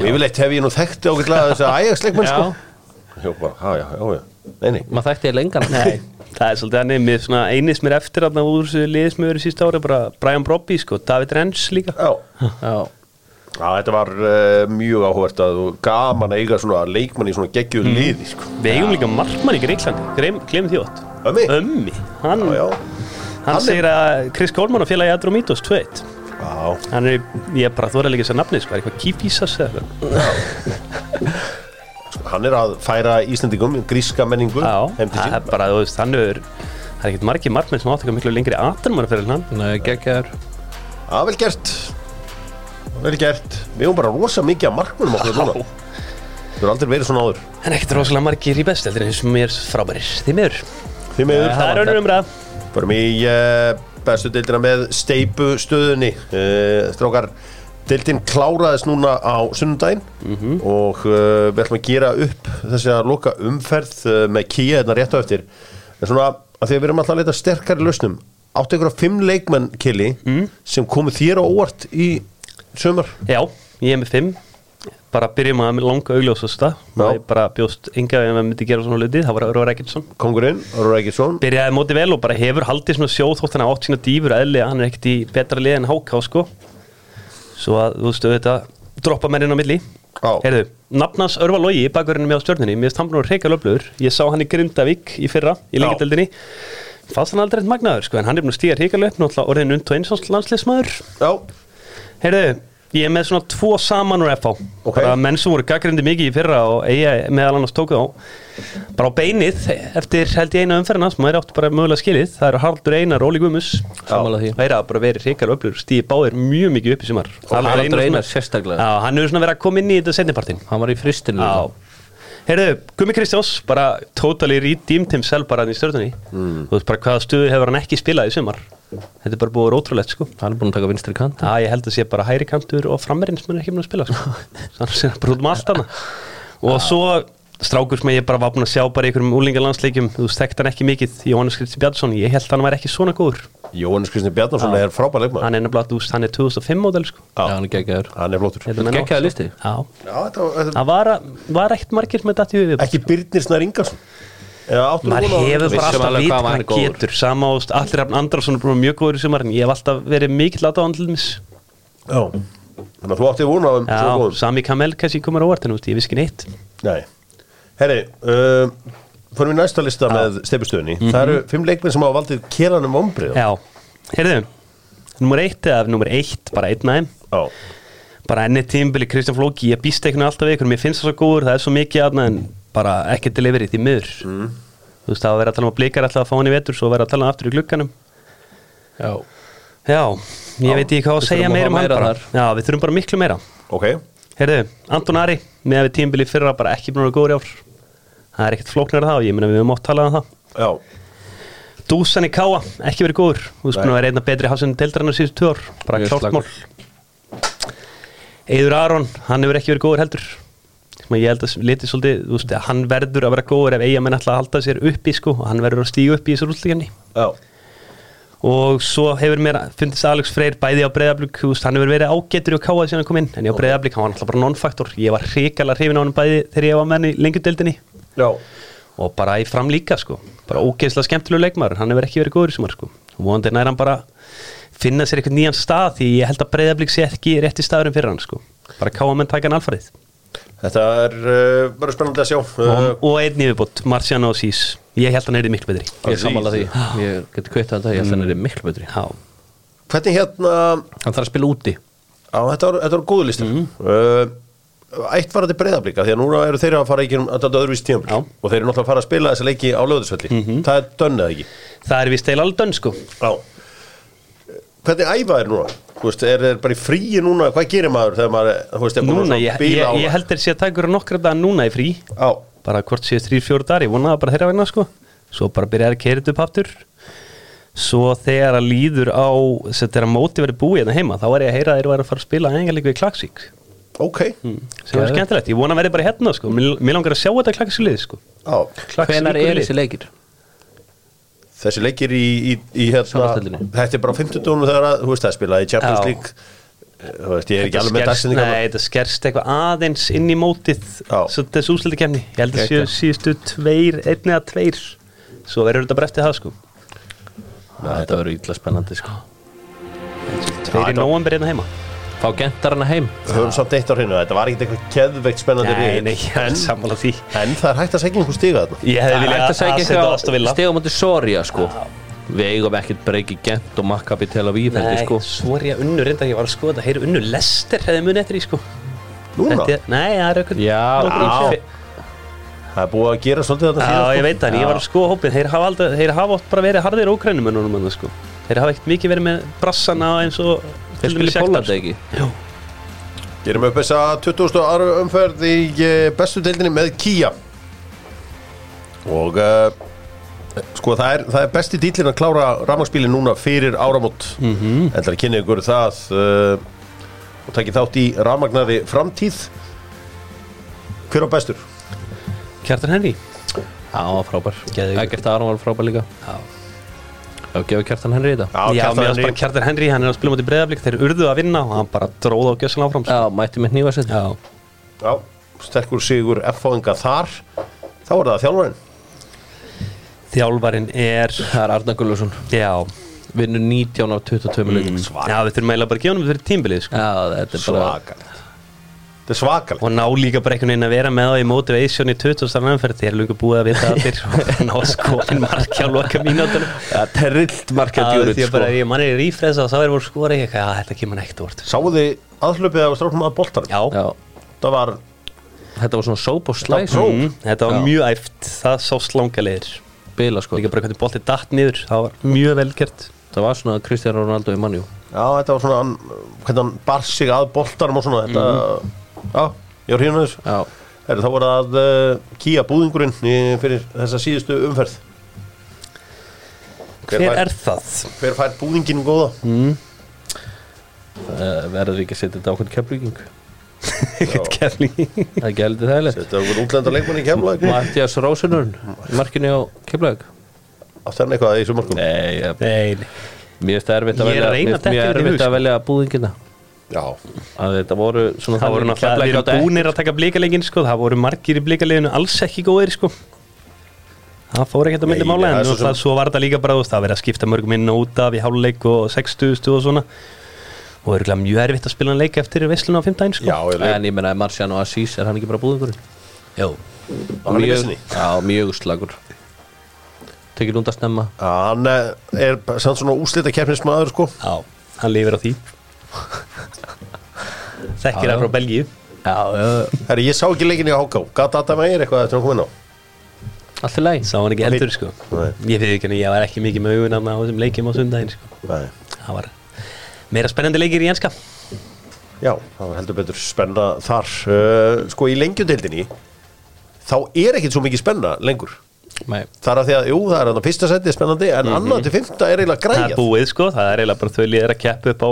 Speaker 1: og yfirleitt hef ég nú þekkti ágætlega þess að ægjagsleikmenn sko
Speaker 2: Já.
Speaker 1: Já, bara, ha, já, já, já, nei, nei
Speaker 2: Maður þekkti ég lengan Nei
Speaker 3: Það er svolítið hann mér svona einið sem er eftir að úr þessu liðið sem við verið sísta ári bara Brian Brobby sko, David Renns líka
Speaker 1: Já,
Speaker 2: Já
Speaker 1: Já, þetta var uh, mjög áhvert að og gaman að eiga svona leikmann í svona geggjuðu liði sko.
Speaker 3: Við eigum líka markmann í Greiklandi, glemum því átt
Speaker 1: Ömmi?
Speaker 3: Ömmi, hann,
Speaker 1: Já, já,
Speaker 3: hann segir að Chris Coleman og félagi Adromitos 2-1
Speaker 1: já
Speaker 3: Hann er, ég bara þóra líka þess að nafni, sko, er eitthvað Kifisas eða eitthvað
Speaker 1: Hann er að færa Íslandingum gríska menningu
Speaker 3: Já,
Speaker 1: heim til
Speaker 3: það
Speaker 1: sín
Speaker 3: er bara, þú veist, hann er, það er ekkert margir markmenn sem átt eitthvað miklu lengri aðdurmann fyrir hann
Speaker 2: Nei, geggjaður
Speaker 1: Já, vel gert Vel gert Við höfum bara rosa mikið af markmunum okkur núna Þú hefur aldrei verið svona áður
Speaker 3: En ekkert rosalega margir í besteldir eins og mér frábærir, því miður
Speaker 1: Því miður
Speaker 3: Það er önnur umræð
Speaker 1: Förum í uh, bestu deildina með steipu stöðunni uh, Strákar, deildin kláraðist núna á sunnudaginn og uh, við ætlum að gera upp þessi að loka umferð uh, með kýja þarna rétt á eftir en svona að því að við erum alltaf að leita sterkari lausnum áttu ykkur á fimm leikmenn kili sem komu þér á óvart í sömur
Speaker 3: Já, ég er með fimm bara byrjum að langa augljósasta
Speaker 1: Já.
Speaker 3: ég bara bjóst enga ef maður myndi gera svona hluti, það var Örvar Ekkertsson
Speaker 1: Kongurinn, Rækisson
Speaker 3: byrjaði móti vel og bara hefur haldið svona sjóð þótt hann hafi átt sína dýfur eðlilega, hann er ekkert í betra lið en háká sko svo að þú veistu þetta droppa mér inn á milli
Speaker 1: Já.
Speaker 3: Heyrðu, nafnans Örvar Logi í bakverðinu með á stjörnunni, mér finnst hann búin að reyka löflugur ég sá hann í Grindavík í fyrra í
Speaker 1: Já.
Speaker 3: lengjadöldinni fannst hann aldrei eitt magnaður sko en hann er búin að stíga reyka löfn og orðin und og eins landsliðsmaður
Speaker 1: Já,
Speaker 3: Heyrðu, ég er með svona tvo saman úr FH
Speaker 1: Ok.
Speaker 3: bara menn sem voru gaggrindi mikið í fyrra og eiga meðal annars tóku á bara á beinið eftir held ég eina umferðina sem maður áttu bara mögulega skilið það eru Haraldur Einar, Óli Guðmus
Speaker 2: Sammála því.
Speaker 3: Það er að bara verið hreikar öflur stíði báðir mjög mikið upp í sumar
Speaker 2: Og Haraldur
Speaker 3: Einar svona-
Speaker 2: Einar sérstaklega.
Speaker 3: Já, hann hefur svona verið að koma inn í þetta setnipartin
Speaker 2: Hann var í fristinu
Speaker 3: Já Heyrðu, Gumi Kristjáns, bara totally redeemed himself bara hann í stjórnunni
Speaker 2: Mm.
Speaker 3: Þú veist bara hvaða stuðu hefur hann ekki spilað í sumar Þetta er bara búið að vera ótrúlegt sko
Speaker 2: Hann er búin að taka vinstri kant
Speaker 3: Já, ég held að sé bara hæri kantur og framerinn sem hann er ekki mun að spila sko. þannig sem hann bara út um allt hana og svo strákur sem ég bara var búin að sjá bara í einhverjum úlingalandsleikjum þú þekkt hann ekki mikið, Jóhannes Kristi Bjarnsson ég held að hann var ekki svona góður
Speaker 1: Jóhannes Kristján Bjarnarsson er frábær leikmann
Speaker 3: hann er nefnilega, þú veist, hann er 2005 módel sko.
Speaker 2: Já, hann er geggjaður
Speaker 1: Hann er flottur
Speaker 3: Þetta menn á-
Speaker 2: Geggjaður listi.
Speaker 3: Já,
Speaker 1: Já, þetta var- þetta-
Speaker 3: það var, var ekkert margir sem þetta í hugið
Speaker 1: Ekki Byrnir Snær Ingarsson
Speaker 3: maður hefur bara
Speaker 2: Vissum
Speaker 3: alltaf
Speaker 2: alveg
Speaker 3: vít hvað
Speaker 2: hvað hann
Speaker 3: hann
Speaker 2: er góður.
Speaker 3: getur sama ást, allir Rafn Andrarsson er búin mjög góður í sumar en ég hef alltaf verið mikill aðdáðanlumis
Speaker 1: Já Þannig að þú átti vona á þeim svo
Speaker 3: Já,
Speaker 1: góðum
Speaker 3: Sami Kamel kannski komur á orðinu, ég vissi ekki neitt
Speaker 1: Nei Herri, uh, fórum við næsta lista með stefustöðunni Það eru fimm leikmenn sem hafa valdið kélanum ombrið
Speaker 3: Mhm. Já, heyrðu Númer eitt eða númer eitt, bara einn aðeim
Speaker 1: Já
Speaker 3: Bara enni tímbili Kristján Flóki Ég býst eitthvað alltaf við ykkur, mér finnst það svo góður Það er svo mikið aðna en bara ekki deliverið í miður Þú veist, það var að vera að tala um að blikar alltaf að fá hann í vetur Svo að vera að tala um aftur í glugganum
Speaker 2: Já
Speaker 3: Já, ég
Speaker 2: Já,
Speaker 3: veit ekki hvað
Speaker 2: við
Speaker 3: að segja
Speaker 2: þurfum að
Speaker 3: meira um hann
Speaker 2: hafa meira
Speaker 3: bara
Speaker 2: þar.
Speaker 3: Já, við þurfum bara miklu meira
Speaker 1: Ok
Speaker 3: Heyrðu, Anton Ari, með við tímbili fyrra bara ekki búin að vera góður í ár Það er ekkert flóknar það og ég meina við höfum oft talað um það
Speaker 1: Já
Speaker 3: Dúsan í Káa, ekki verið góður Þú veist,
Speaker 1: Nei.
Speaker 3: búin að vera einna betri hafsendin deildrannar síðustu tvö ár Bara
Speaker 2: Mjög
Speaker 3: klárt
Speaker 2: slakur.
Speaker 3: mál Eður Aron, hann hefur ekki verið góður heldur Sem að ég held að liti svolítið Þú veist, hann verður að vera góður ef eiga menn ætla að halda sér uppi sko Og hann verður að stíga upp í þessu rúllíkjarni
Speaker 1: Já
Speaker 3: Og svo hefur mér fundist Alex Freyr bæði á breyðablík Þú veist, hann hefur verið ágætur í að Káa síðan hann kom inn En ég á breyðablík, hann var alltaf bara non-faktor Ég var hrikalega hrifin á hann bæði þegar ég var með hann í lengjudeildinni
Speaker 1: Já
Speaker 3: og bara í fram líka sko bara ógeðslega skemmtilegu leikmaður, hann hefur ekki verið góður í sumar sko, vonandi nær hann bara finna sér eitthvað nýjan stað því ég held að breyðablík sé ekki rétti staðurinn fyrir hann sko bara káa menn taka hann alfarið
Speaker 1: Þetta er uh, bara spennandi að sjá uh,
Speaker 3: og, og einn yfirbót, Marciano Sís ég held að hann er miklu betri
Speaker 2: Ég er sammála því
Speaker 1: Jesus.
Speaker 2: Ég geti kvitt að þetta Ég held að hann er miklu betri
Speaker 3: Já,
Speaker 1: Hvernig hérna
Speaker 2: Hann þarf að spila úti
Speaker 1: á, Þetta var, þetta var góðu listar
Speaker 3: Mhm.
Speaker 1: mm uh, Eitt var þetta breyðablika Því að núna eru þeir að fara ekki um þetta öðruvís tíma
Speaker 3: Já. Mhm.
Speaker 1: Og þeir eru náttúrulega að fara að spila þessa leiki á lögðarsvelli Það er dönnað ekki
Speaker 3: það er vist eil alveg dönn sko
Speaker 1: Já Hvernig æfa er núna? Þú veist, er þeir bara í fríi núna? Hvað gerir maður þegar maður, þú veist, er búin
Speaker 3: núna,
Speaker 1: að
Speaker 3: ég, ég,
Speaker 1: bíla á
Speaker 3: ég held þeir sé að taka ykkur nokkra daga núna í frí
Speaker 1: Já,
Speaker 3: bara hvort séu þrýr, fjóru dagar, ég vonaði bara þeirra vegna sko svo bara byrjaði að keira þetta upp aftur svo þegar að líður á sem þegar að móti verið búið hérna heima þá var ég að heyra að þeir væri að fara að spila engalíku í Klagsvík
Speaker 1: ok
Speaker 3: sem er
Speaker 2: Geðveikt.
Speaker 3: skemmtilegt, ég vona að verið bara hérna sko mér mér langar að sjá þetta Klagsvík liði sko
Speaker 1: Já,
Speaker 2: Hvenær
Speaker 3: Klagsvíkur
Speaker 2: er
Speaker 3: lið.
Speaker 2: þessi leikir?
Speaker 1: þessi leikir í, í, í hérna,
Speaker 2: Sjónvarpsdeildinni.
Speaker 1: Þetta er bara á 50 dónum þegar að, þú veist, það er spilað í Champions
Speaker 3: Já.
Speaker 1: League Eh, Þú veist, ég er ekki
Speaker 3: Þetta
Speaker 1: alveg með
Speaker 3: skerst-
Speaker 1: dagsinni
Speaker 3: Nei, þetta skerst eitthvað aðeins inn í mótið
Speaker 1: Já.
Speaker 3: svo þessu úsleiti kemni ég held að séu
Speaker 2: Geggjað.
Speaker 3: síðustu tveir, einn eða tveir svo verður þetta bara eftir það sko
Speaker 2: Þetta verður illa spennandi sko
Speaker 3: tveir í
Speaker 1: þetta-
Speaker 3: nóvambir hérna heima
Speaker 2: fá gentar hana heim
Speaker 1: höfum samt eitt á hreinu þetta var ekkert eitthvað keðveikt spennandi
Speaker 3: Nei,
Speaker 1: rit.
Speaker 3: nei, ég er
Speaker 1: en,
Speaker 3: sammála því
Speaker 1: en það er hægt að segja einhver stiga þarna
Speaker 3: Ég hefði
Speaker 2: Það er
Speaker 3: viljað
Speaker 2: hægt að segja
Speaker 3: setja Aston
Speaker 2: eitthvað
Speaker 3: Villa
Speaker 2: stegum átti Soria sko Við eigum ekkert breyki gent og makkabi til að við
Speaker 3: Nei,
Speaker 2: sko.
Speaker 3: svo er ég unnu reynda, ég var að skoða Heyru unnu lester hefði munið eftir í sko
Speaker 1: núna,
Speaker 3: Þetta er- Nei, það er aukur
Speaker 2: Já,
Speaker 1: já. það er búið að gera svolítið þarna
Speaker 3: Já,
Speaker 1: síðan,
Speaker 3: ég
Speaker 1: sko.
Speaker 3: veit það, en ég var að skoða hópin Þeir hafa, aldrei, þeir hafa oft bara verið harðir ókrænum en honum sko. Þeir hafa ekkert mikið verið með brassana eins og
Speaker 2: Þeir
Speaker 3: til dæmis
Speaker 2: spilir
Speaker 3: Shakhtar,
Speaker 2: Póland
Speaker 3: sko.
Speaker 2: ekki
Speaker 1: Gerum upp þessa 20. ára umferð í eh, bestu deildinni með Kia Og uh, sko það er, það er besti dýllin að klára rafmagsbílinn núna fyrir áramót mm
Speaker 3: Mhm.
Speaker 1: -hmm. Ætlar að kynna ykkur það uh, og taki þátt í rafmagnaði framtíð Hver á bestur?
Speaker 3: Kjartan Henry
Speaker 2: Já, hann var frábær
Speaker 3: Geðveikur.
Speaker 2: Ekkert Aron var frábær líka
Speaker 3: Já.
Speaker 2: Já, gefur kjartan henni í þetta
Speaker 1: Já,
Speaker 3: Já,
Speaker 1: Kjartan
Speaker 3: mér varst
Speaker 1: Henry.
Speaker 3: bara Kjartan Henry, hann er að spila mútið breyðaflik Þeir urðu að vinna og hann bara dróða á gjössan áfram sko.
Speaker 2: Já, mætti með nýva sitt
Speaker 3: Já,
Speaker 1: Já, sterkur sigur F-fáinga þar Þá er það þjálfarinn
Speaker 3: þjálfarin er
Speaker 2: Það er Arna Gulluðsson
Speaker 3: Já,
Speaker 2: Vinnur 19 af 22 leikum
Speaker 3: já við þurfum eiginlega bara að gefa hann fyrir tímbilið sko.
Speaker 2: Mm. Já, þetta er bara
Speaker 1: Svakalegt Þetta er svakalegt
Speaker 3: og ná líka bara einhvern veginn að vera með á í motivation í 20. anferð þeir eru líka búið að vita allir og ná skoðin markja á loka mínútur
Speaker 2: Já, Terrilt markað
Speaker 3: Það er
Speaker 2: djúrit
Speaker 3: því að
Speaker 2: sko.
Speaker 3: bara ég manni er rífresa og sá er voru skora ég eitthvað, "Ah, þetta kemur neitt úr
Speaker 1: Sáuð þið aðhlöpið af stráknum að boltar
Speaker 3: Já,
Speaker 2: Já,
Speaker 1: Það var
Speaker 2: þetta var svona sóp og slæs
Speaker 1: Þetta var
Speaker 3: Mm, þetta var
Speaker 2: Já.
Speaker 3: mjög æft, það sást langalegur
Speaker 2: Bila sko
Speaker 3: Líka bara hvernig boltið datt niður, það var mjög velgert
Speaker 2: Það var svona Kristján Ronaldo í mannjú
Speaker 1: Já, þetta var svona hann, hvernig hann bar sig að boltarum og svona þetta, já, ég var hérna þessu
Speaker 2: Já
Speaker 1: Heru, þá voru það uh, kýja búðingurinn í, fyrir þessa síðustu umferð Hver,
Speaker 3: Hver
Speaker 1: fær,
Speaker 3: er það?
Speaker 1: hver fær búðingin góða?
Speaker 2: uh, Verður ekki að setja þetta á hvernig keflíking
Speaker 3: Ekkert kefling
Speaker 2: Það er ekki heldur þægilegt
Speaker 1: Þetta voru útlenda leikmann í kemla
Speaker 2: Mattias Rósunurn í markinu á Keflavík
Speaker 1: Átti hann eitthvað í sumarkum?
Speaker 2: Nei, ég-
Speaker 3: Nei,
Speaker 2: mér finnst það erfitt
Speaker 3: Ég
Speaker 2: að
Speaker 3: er
Speaker 2: velja
Speaker 3: að reyna að
Speaker 2: mér finnst
Speaker 3: detta
Speaker 2: mjög
Speaker 3: yfir í
Speaker 2: erfitt
Speaker 3: hug,
Speaker 2: að velja búðingina
Speaker 1: Já,
Speaker 2: að þetta voru svona
Speaker 3: það voru náttúrulega við erum
Speaker 2: búin
Speaker 3: búnir að taka blikalegin sko, það voru margir í blikaleginu alls ekki góðir sko Það fór ekkert að
Speaker 1: Nei,
Speaker 3: myndi mála
Speaker 1: það er
Speaker 3: en
Speaker 1: svo
Speaker 3: svo,
Speaker 1: sem-
Speaker 3: svo var þetta líka bara þú veist, það verið að skipta mörgum inn og út af í háluleik og 60 og svona og örgulega mjög erfitt að spila hann leik eftir veisluna á 15 sko
Speaker 1: já, ég leik
Speaker 2: en ég meina Marciano Assis er hann ekki bara búðingur
Speaker 3: Jó.
Speaker 1: Hann er í vissinni.
Speaker 2: já, mjög slagur tekið lúnda snemma
Speaker 1: Hann eh, er samt svona úslita keppnismæður sko
Speaker 3: Já, hann lifir á því Þekkir það
Speaker 2: Já, já.
Speaker 3: frá Belgíu
Speaker 2: já, já
Speaker 1: Herru, ég sá ekki leikin í HK Gat Adam Eir eitthvað eftir hann kom inn á
Speaker 2: allt í læg
Speaker 3: Sá hann ekki heldur sko
Speaker 1: Nei.
Speaker 3: Ég fyrir ekki hann, ég var ekki mikið með augun þarna á þessum leikjum á sundaginn sko
Speaker 1: Nei.
Speaker 3: Það var meira spennandi leikir í enska
Speaker 1: Já, það var heldur betur spenna þar uh, Sko í lengjudeildinni þá er ekkit svo mikið spenna lengur
Speaker 2: nei
Speaker 1: Það er að því að, jú, það er að fyrsta seti er spennandi en annað til fymta Mhm. er eiginlega
Speaker 3: Það er
Speaker 1: græjað
Speaker 3: búið sko, það er eiginlega bara þau liðir að keppa upp á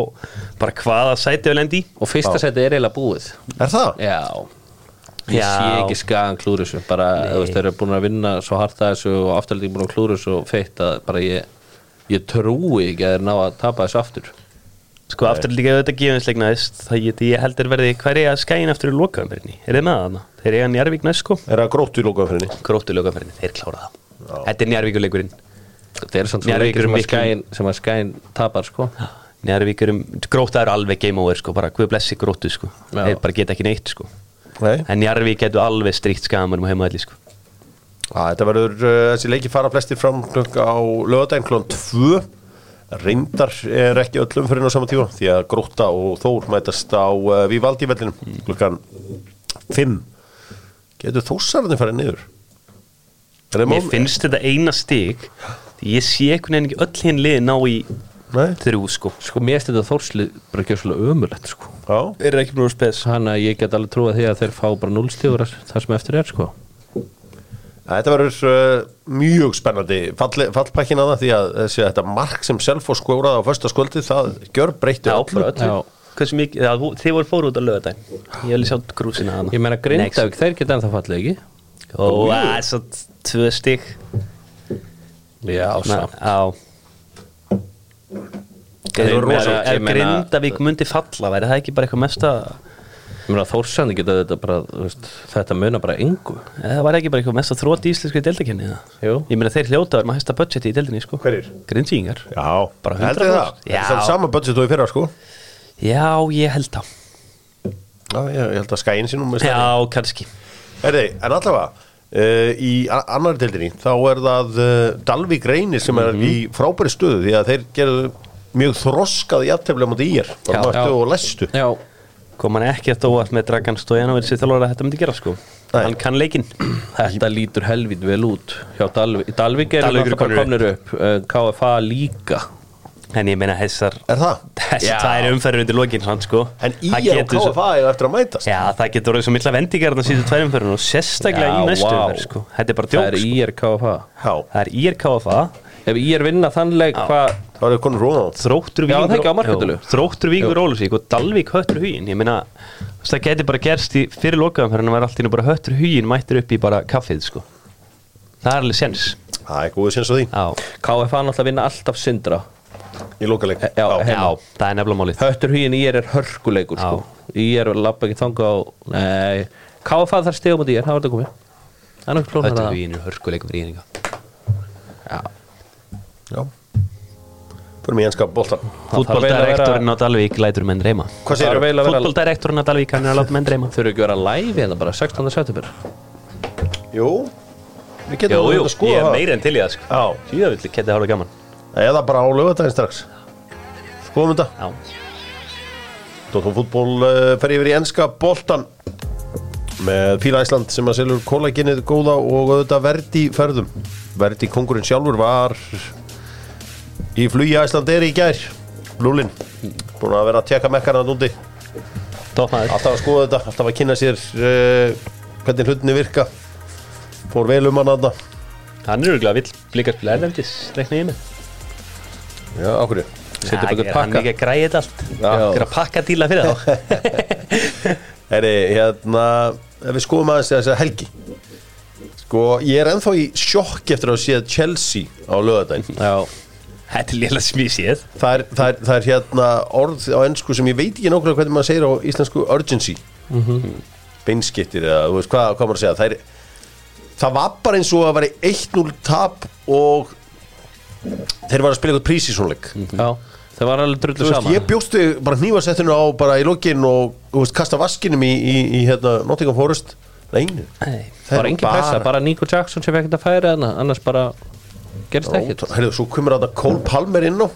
Speaker 3: bara hvaða sæti við lendi í
Speaker 2: og fyrsta seti er eiginlega búið
Speaker 1: Er það?
Speaker 2: já ég
Speaker 3: Já.
Speaker 2: sé ekki skagan klúður þessu bara, þú veist, þeir eru búin að vinna svo hart að þessu og afturhalding búin að klúður þessu og feitt að bara ég ég trúi ekki að þeir ná að tapa þessu aftur
Speaker 3: Sko aftur líka ef þetta gefinsleik næst það ég, ég heldur verði hverja skæin aftur í lokaumferðinni, er þið með það þarna? Þeir eiga Njarvík næst sko,
Speaker 1: Er það grótt í lókaðumferinni?
Speaker 3: gróttu lokaumferðinni, þeir klára það Þetta er Njarvíkuleikurinn
Speaker 2: þetta er
Speaker 3: Mér
Speaker 2: samt svona
Speaker 3: er
Speaker 2: leikir
Speaker 3: ykkur
Speaker 2: sem að
Speaker 3: miklu-
Speaker 2: skæin sem að skæin tapar sko
Speaker 3: Njarvíkurum, gróta eru um, alveg game over sko, bara hvað blessi gróttu sko
Speaker 2: Já.
Speaker 3: þeir bara geta ekki neitt sko
Speaker 1: Nei
Speaker 3: en Njarvík getur alveg stríkt skamarum og heimaðli sko
Speaker 1: Æ, Þetta verður, uh, þessi leiki fara flestir fram klukk á lögadaginn klón 2 Reyndar er ekki öllum fyrir á sama tíma því að grótta og þór mætast á uh, Vívaldi vellinum
Speaker 3: Mm.
Speaker 1: klukkan 5 Getur þórsarðin farið niður? Er það
Speaker 3: Mér
Speaker 1: mál-
Speaker 3: finnst þetta eina stig því ég sé einhvern veginn ekki öll hinn liði ná í
Speaker 1: Nei,
Speaker 3: þrjú sko
Speaker 2: sko mér finnst þetta þórslið bara ekki svolítið ömulegt sko
Speaker 1: já
Speaker 3: Er ekki brúið spes
Speaker 2: þannig að ég get alveg trúið því að þeir fá bara núlstíður þar sem eftir er sko
Speaker 1: Þetta verður uh, mjög spennandi fall, fallpækkin að það því að þessi, þetta mark sem Selfoss skóraði á första skvöldi það gjör breyttu
Speaker 3: Já, bara öllu
Speaker 2: Já.
Speaker 3: Hversu mikið, já, þú- þið voru fóru út að löða þetta Ég vil sjá grúsina hana
Speaker 2: ég meina Grindavík, þeir geta ennþá fallið ekki
Speaker 3: Og það er svo tvö stig
Speaker 2: já,
Speaker 3: Na- Á
Speaker 2: Þeir eru
Speaker 3: Meina,
Speaker 2: rosa-
Speaker 3: Ef
Speaker 2: ég meina-
Speaker 3: Grindavík myndi falla væri það ekki bara eitthvað mesta
Speaker 2: ég meina Þórsandi geta þetta bara þú veist, þetta muna bara engu
Speaker 3: eða það væri ekki bara eitthvað mesta þrótt í íslensku deildakenni
Speaker 2: Jú.
Speaker 3: Ég meina þeir hljótaður maður hæsta budgeti í deildinni sko
Speaker 1: Hverjir?
Speaker 3: Grindvíkingar
Speaker 1: Já,
Speaker 3: Bara
Speaker 1: heldur
Speaker 3: 100%.
Speaker 1: það Þetta er
Speaker 3: Já.
Speaker 1: saman budget og í fyrra sko
Speaker 3: Já, Já, ég held það
Speaker 1: Já, ég, ég held að skæin sinum með stærri.
Speaker 3: Já, kannski
Speaker 1: Herði, en allavega uh, í a- annari deildinni þá er það uh, Dalvík Reynir sem er
Speaker 3: Mhm.
Speaker 1: í frábæri stöðu því að þeir gerðu mjög þroskað í aftefli á móti í er bara
Speaker 3: Já,
Speaker 1: mættu
Speaker 2: já.
Speaker 1: og læstu
Speaker 2: Já,
Speaker 3: Kom hann ekki að dóa með Dragan Stojanovic í þjálfur að þetta myndi gera sko
Speaker 1: Nei.
Speaker 3: Hann kann leikinn
Speaker 2: þetta lítur helvit vel út hjá Dalvi, Dalvík er
Speaker 3: Dalvík eru
Speaker 2: náttúrulega bara
Speaker 3: komnir
Speaker 2: komnir upp uh, KFA líka
Speaker 3: En ég meina þessar
Speaker 1: Er það?
Speaker 3: Þessi
Speaker 2: Já.
Speaker 3: tvær umferður undir lokinn hann sko
Speaker 1: En í
Speaker 3: Það
Speaker 1: er og
Speaker 3: getur svo-
Speaker 1: KFA er eftir að mætast
Speaker 3: Já, það getur orðið svo milla vendingar þannig að síðu tvær umferðin og sérstaklega
Speaker 2: Já,
Speaker 3: í næstu
Speaker 2: vá.
Speaker 3: umferð sko. Þetta er bara
Speaker 2: Það
Speaker 3: djók
Speaker 2: er
Speaker 3: sko.
Speaker 2: IR KFA
Speaker 1: Já,
Speaker 3: Það er IR KFA
Speaker 2: Ef IR vinna þannleik hvað
Speaker 1: það er konur róðan
Speaker 3: Þróttur
Speaker 2: Já,
Speaker 3: Víkur
Speaker 2: það er ekki á markatölu.
Speaker 3: Jú, Þróttur Víkur Ólusvík og Dalvík höttur hugin Ég meina, þú veist, það getur bara gerst í fyrir lokaðumferðin að vera allt í nú bara höttur hugin mættir upp í bara kaffið sko. Það er alveg sens
Speaker 1: Það er góðið sinns á því
Speaker 3: Já,
Speaker 2: KFA náttúrulega vinna alltaf syndra
Speaker 1: í lokaleik
Speaker 2: Já,
Speaker 3: já
Speaker 2: heima.
Speaker 3: það er nefnilega málið
Speaker 2: Höttur hugin IR er hörkuleikur sko. IR lappa ekki þanga á Nei, KFA þarf stegum út IR, það var þetta komið Það er náttúrulega
Speaker 3: Höttur
Speaker 2: klónar
Speaker 3: hugin er hörkuleikum rýninga
Speaker 1: Já Fyrir mig enska boltan
Speaker 2: Það þarf eiginlega að vera-
Speaker 3: Fútboldirektorinn á Dalvík lætur menn reyma
Speaker 1: Hvað
Speaker 2: Það er
Speaker 1: segirðu?
Speaker 2: vel að vera
Speaker 3: Fútboldirektorinn á Dalvík hann er að láta menn reyma
Speaker 2: Þau eru ekki að vera live hérna bara 16. september
Speaker 1: Jú Við getum
Speaker 3: Jú,
Speaker 1: alveg að
Speaker 3: jú, ég
Speaker 1: skoða
Speaker 3: er
Speaker 1: það.
Speaker 3: meira en til í það sko.
Speaker 1: Já,
Speaker 3: Svíðavill geti hálfa gaman
Speaker 1: eða bara á lögadaginn strax Skoðum þetta
Speaker 3: Já.
Speaker 1: Dóttum fútból uh, fer yfir í enska boltan með Fíla Ísland sem að selur kollagenið góða og auðvitað verdi ferðum verdi kongurinn sjálfur var í flugi Ísland er í gær Lúlin, búin að vera að tjekka mekkana núti
Speaker 3: Tókmaður
Speaker 1: alltaf að skoða þetta, alltaf að kynna sér uh, hvernig hlutinni virka fór vel um hann aðna
Speaker 3: Hann er örgulega vill blíkast spila erlendis Rekna ég með
Speaker 1: Já, okkur
Speaker 2: Setja upp einhvern
Speaker 3: Hann
Speaker 2: pakka.
Speaker 3: er ekki að græja þetta allt
Speaker 1: Já.
Speaker 3: Hann er að pakka díla fyrir þá
Speaker 1: Heri, hérna, ef við skoðum aðeins þess að helgi Sko, ég er ennþá í sjokk eftir að séð Chelsea á lögadaginn
Speaker 2: Já,
Speaker 3: Þetta er lélega smísið
Speaker 1: það er, það, er, það er hérna orð á ennsku sem ég veit ekki nákvæmlega hvernig maður segir á íslensku urgency beinskittir eða þú veist hvað, hvað maður að segja það, er, það var bara eins og að vera 1-0 tap og þeir var að spila eitthvað prísísónleik mm.
Speaker 2: já Mhm. Það var alveg
Speaker 1: Þú
Speaker 2: drullu
Speaker 1: veist,
Speaker 2: saman
Speaker 1: ég bjóstu bara hnífarsettinu á bara í lokin og þú veist, kasta vaskinum í, í, í hérna, Nottingham Forest Neinu
Speaker 3: Nei.
Speaker 1: Það
Speaker 2: Bara engin pressa, bara Nico Jackson sem fekk þetta að færa hana Annars bara gerist ekkert
Speaker 1: Herðu, svo kemur þetta Cole Palmer inn á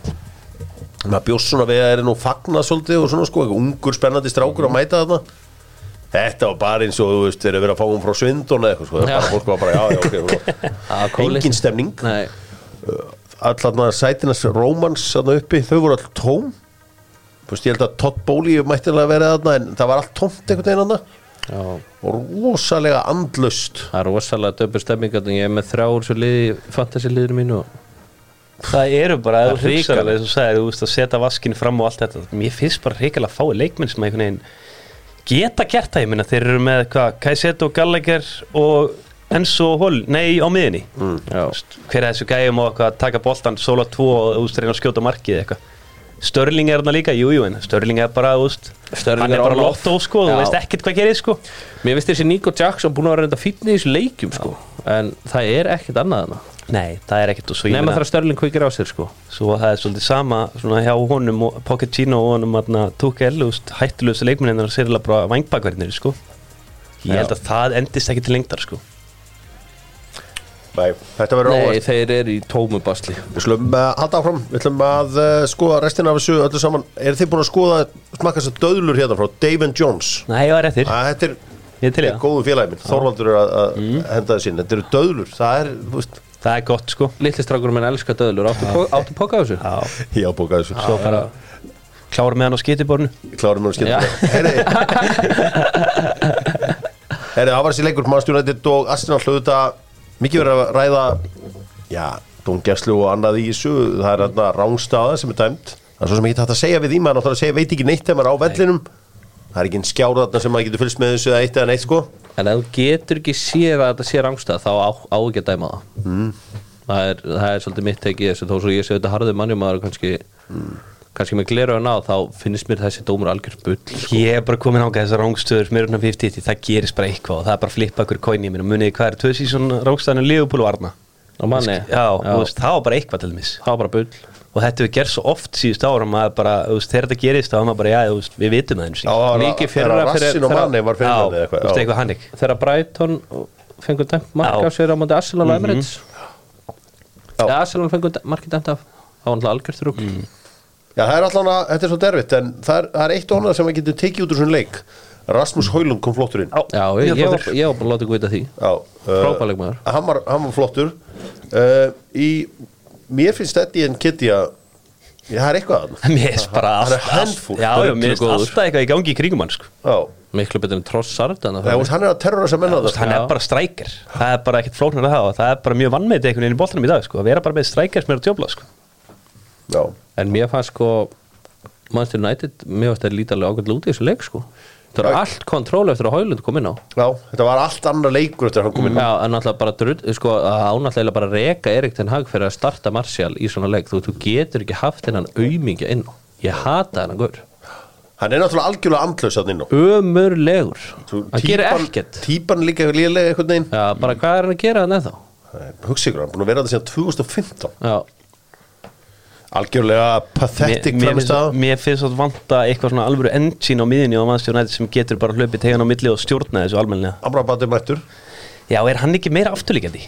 Speaker 1: maður bjóst svona við að er nú fagna svolítið og svona sko, eitthvað ungur spennandi strákur
Speaker 2: Mhm.
Speaker 1: að mæta þarna Þetta var bara eins og þú veist, þeir eru verið að fá hún frá Svindon eða eitthvað, sko, það er
Speaker 2: Já.
Speaker 1: bara fólk var bara, já, já,
Speaker 2: Já,
Speaker 1: ok
Speaker 2: Cole-
Speaker 1: Engin stemning,
Speaker 2: Nei,
Speaker 1: allarna sætinas Rómans þarna uppi, þau voru all tóm Þú veist, ég held að Todd Bowley mættilega verið þarna, en það var allt tómt einhvern veginn þarna
Speaker 2: já
Speaker 1: og rosalega andlust
Speaker 2: Það er rosalega döpur stemmingat Ég er með þrjár svo liði, fantasy liðinu mínu
Speaker 3: Það eru bara
Speaker 2: Það
Speaker 3: að
Speaker 2: er
Speaker 3: þú hugsa
Speaker 2: hrikalegt.
Speaker 3: alveg, eins og sagði, þú veist að setja vaskin fram og allt þetta Mér finnst bara reikalega fáið leikmenn sem að einhvern veginn geta gert það, ég minna þeir eru með hvað, Kaiseto, Gallagher og Enzo og Hol, nei á miðinni mm.
Speaker 2: Já,
Speaker 3: Hver er þessu gæjum og eitthvað að taka boltan sóla 2 og úst reyna að skjóta markið eitthvað Störling er þarna líka, jújú jú, en Störling er bara, úst,
Speaker 2: Sterling
Speaker 3: hann
Speaker 2: er
Speaker 3: er bara
Speaker 2: on off.
Speaker 3: lottó sko, þú
Speaker 2: Já.
Speaker 3: veist ekkert hvað gerir sko
Speaker 2: Mér finnst þessi Nico Jackson búin að vera reynda fýtni í þessu leikjum sko. En það er ekkert annað hana
Speaker 3: Nei, það er ekkert og svo ég
Speaker 2: Nefna
Speaker 3: meina-
Speaker 2: þar að Störling kveikir á sér sko.
Speaker 3: Svo það er svolítið sama svona hjá honum og Pochettino og honum aðna tók elust hættulegustu leikmennin er sérlega bara vangbakverðinir sko. Ég
Speaker 2: Já.
Speaker 3: held að það endist ekki til lengdar sko.
Speaker 1: Nei, þetta verður
Speaker 2: Nei,
Speaker 1: óvart
Speaker 2: þeir eru í tómu basli
Speaker 1: Við slum að halda áfram, við slum að uh, skoða restina af þessu öllu saman Er þið búin að skoða smakka þess að döðlur hérna frá Dave and Jones?
Speaker 3: Nei, ég var réttir.
Speaker 1: Að, þetta er,
Speaker 3: Ég er til í
Speaker 1: þetta er
Speaker 3: það. Mm.
Speaker 1: góðu félagi minn, Þorvaldur er að, að henda þessu inn Þetta eru döðlur, það er, þú veist,
Speaker 3: Það er gott sko.
Speaker 2: Litli strákur minn elska döðlur Áttu, po áttu poka á þessu?
Speaker 3: Já.
Speaker 1: ég ábóka þessu
Speaker 3: Svo bara klára með hann á skitibornu.
Speaker 1: Klárum mér að skilja
Speaker 2: Já.
Speaker 1: það Herri, herri, það var þessi leikur Man United og Arsenal hluta Mikið verið að ræða Já, dungjæslu og annað í þessu Það er þarna rángstaða sem er dæmt Það er svo sem ekki hægt að segja við því maður náttúrulega segja, veit ekki neitt þegar maður er á vellinum Það er ekki en skjár þarna sem maður getur fylgst með þessu eða eitt eða neitt sko
Speaker 2: En ef þú getur ekki séð að þetta sé rangstæð þá á, á ekki að dæma það það, er, það er svolítið mitt tekið þessu þó svo ég sé þetta harðið mannjum maður er kannski, kannski með gleraðun á þá finnst mér þessi dómur algjör bull
Speaker 3: Ég er bara komin ángað þessar rángstöður með rúnum 50 það gerist bara eitthvað og það er bara að flippa ykkur kóin í mér. Muniði hvað er tvö sísón rángstöðan en Leopold varna?
Speaker 2: og manni
Speaker 3: já, já. Veist, það var bara eitthvað til mis
Speaker 2: það var bara bull
Speaker 3: og þetta hefur gerð svo oft síðust árum að bara, þú veist, þegar þetta gerist þá var maður bara, já, þú veist, við vitum það einu sinni
Speaker 1: það var-
Speaker 2: Mikið
Speaker 1: það var
Speaker 2: fyrra fyrir-
Speaker 1: Rassin og
Speaker 2: þegar-
Speaker 1: manni var
Speaker 3: já,
Speaker 1: fyrir
Speaker 3: þú
Speaker 1: manni
Speaker 3: veist,
Speaker 1: eitthvað já.
Speaker 3: eitthvað hannig
Speaker 2: þegar Brighton fengur dæmt
Speaker 3: Já.
Speaker 2: mark á sér á móti Arsenal og Emirates
Speaker 1: Já.
Speaker 2: eða Arsenal fengur dæmt- markið dæmt af það var alltaf algjörð rúk
Speaker 1: Já, það er allan að, þetta er svo derfitt en það er, það er eitt og annað sem að getur tekið út úr svona leik Rasmus Hólund kom flottur inn
Speaker 2: já, ég, ég, var- ég var bara að láta ykkur vita því
Speaker 1: Já, eh,
Speaker 2: Frábær leikmaður.
Speaker 1: hann, var, hann var flottur uh, í, Mér finnst þetta í enn Kitty að Já, það er eitthvað að hann
Speaker 3: mér er bara
Speaker 1: Hann er
Speaker 3: allt- allt-
Speaker 1: handfúll,
Speaker 3: já, já, mér
Speaker 2: drullu
Speaker 3: er
Speaker 2: góður.
Speaker 3: alltaf eitthvað í gangi í kringum hann sko.
Speaker 1: Já,
Speaker 2: miklu betur en Trossard en
Speaker 1: það, hann er að terrora sem menna
Speaker 3: Þú veist,
Speaker 1: það
Speaker 3: hann
Speaker 2: Já.
Speaker 3: er bara strækir það er bara ekkert flóknar að hafa það er bara mjög vannmeiti einhvern veginn í boltanum í dag sko. að vera bara með strækir sem er að djóbla sko.
Speaker 1: Já,
Speaker 2: en mér fannst sko Manchester United, mér fannst það lítalega ágætt lúti í þessu leik sko það var
Speaker 1: Já.
Speaker 2: allt kontról eftir að Hólund kom inn á
Speaker 1: já, þetta var allt annar leikur eftir að hann kom
Speaker 3: Mm.
Speaker 1: inn
Speaker 2: Já, en náttúrulega bara drull, sko, að ánallega bara reka Erik Ten Hag fyrir að starta Martial í svona leik, þú, þú getur ekki haft hennan aumingja inn á, ég hata hennan gaur
Speaker 1: Hann er náttúrulega algjörlega andlaus að inn á
Speaker 2: ömurlegur
Speaker 1: Svo
Speaker 2: hann gerir ekkert
Speaker 1: Típan líka lélega einhvern veginn
Speaker 2: já, bara hvað er hann að gera hann eða
Speaker 1: Nei, Hugsa ykkur, hann er búin að vera þetta síðan 2015
Speaker 2: já,
Speaker 1: Algjörlega pathetic
Speaker 3: mér,
Speaker 1: framist
Speaker 3: mér, mér finnst að vanta eitthvað svona alvöru engine á miðinni á mannstjórnæti sem getur bara hlöpið tegan á milli og stjórna þessu almennilega
Speaker 1: Amrabatið mættur
Speaker 3: Já, er hann ekki meira afturlíkandi?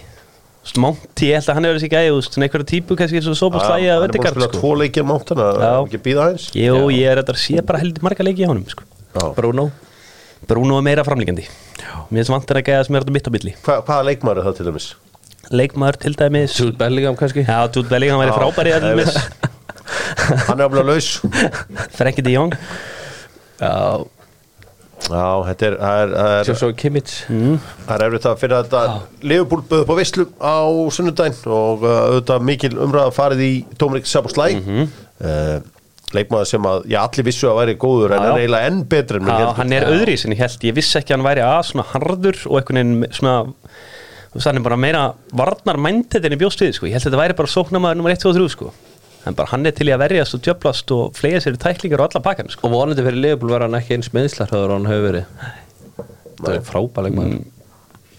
Speaker 3: Monti, ég held að hann hefur þessi gæði, þú veist, svona einhverja típu kannski eins og sopa slæja
Speaker 1: Hann er búin
Speaker 3: að
Speaker 1: að
Speaker 3: vettigard,
Speaker 1: spila
Speaker 3: sko.
Speaker 1: tvo leikja mátt hann
Speaker 3: Já.
Speaker 1: Ekki býða aðeins
Speaker 3: Jú, ég er þetta að sé bara heldur marga leiki á honum, sko.
Speaker 1: Já.
Speaker 2: Bruno
Speaker 3: Bruno er meira framlíkandi. Mér finnst vantir að gæða sem er þetta mitt á milli.
Speaker 1: Hva, Hvaða leikmaður er það til dæmis?
Speaker 3: Leikmaður til dæmis.
Speaker 2: Jude Bellingham kannski
Speaker 3: Já, Jude Bellingham væri
Speaker 1: Já,
Speaker 3: frábæri
Speaker 1: það
Speaker 3: að
Speaker 1: er
Speaker 3: dæmis.
Speaker 1: Hann er að laus
Speaker 3: Frenkie de Jong.
Speaker 2: já,
Speaker 1: Já, þetta er Það er, það er,
Speaker 2: svo svo Kimmich
Speaker 1: það er erfitt að finna þetta Leifupúl böð upp á Vistlu á sunnudaginn og uh, auðvitað mikil umræða farið í Tómrik Saboslæ mm
Speaker 3: Mhm.
Speaker 1: Leikmaður sem að, já, allir vissu að væri góður en
Speaker 3: Já, já.
Speaker 1: er eiginlega enn betri en menn
Speaker 3: Já,
Speaker 1: héldu.
Speaker 3: hann er öðri sinni, ég held. Ég vissi ekki að hann væri að svona harður og einhvern veginn svona, þú veist, hann er bara meira varnar mændið en ég bjóst við, sko. Ég held að þetta væri bara sóknamaður nummer 1, 2 og 3, sko. En bara hann er til í að verjast og djöblast og flega sér í tæklingar og alla pakkan, sko.
Speaker 2: og vonandi fyrir Leopold var hann ekki eins meðslarhöður hann hefur verið það er frábæleg maður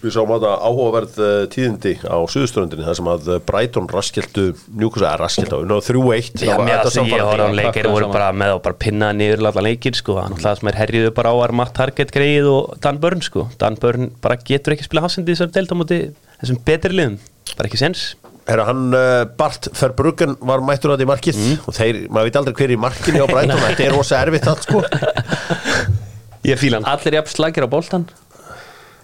Speaker 1: Við sáum að það áhugaverð eh, tíðindi á suðuströndinni þar sem að eh, Brighton raskildu njúkvæmst að raskildu á unna 3-1
Speaker 3: Já,
Speaker 1: Það var þetta
Speaker 3: mér að því ég
Speaker 1: samfara.
Speaker 3: horfði á
Speaker 2: Já,
Speaker 3: leikir
Speaker 2: klappaði
Speaker 3: voru
Speaker 2: saman.
Speaker 3: bara með og bara pinnaði niður allan leikir sko,
Speaker 2: Mhm.
Speaker 3: hann alltaf sem er herriðu bara á var Matt Target greið og Dan Burn sko Dan Burn bara getur ekki spila hafsendi þessar delt á móti þessum betri liðum, bara ekki sens
Speaker 1: Herra, hann eh, Bart Verbruggen var mættur að í markið
Speaker 3: Mm.
Speaker 1: og þeir, maður veit aldrei hver er í markinu á Brighton þetta er rosa erfitt allt sko
Speaker 3: Ég fíla hann
Speaker 2: allir jafn slagir á boltan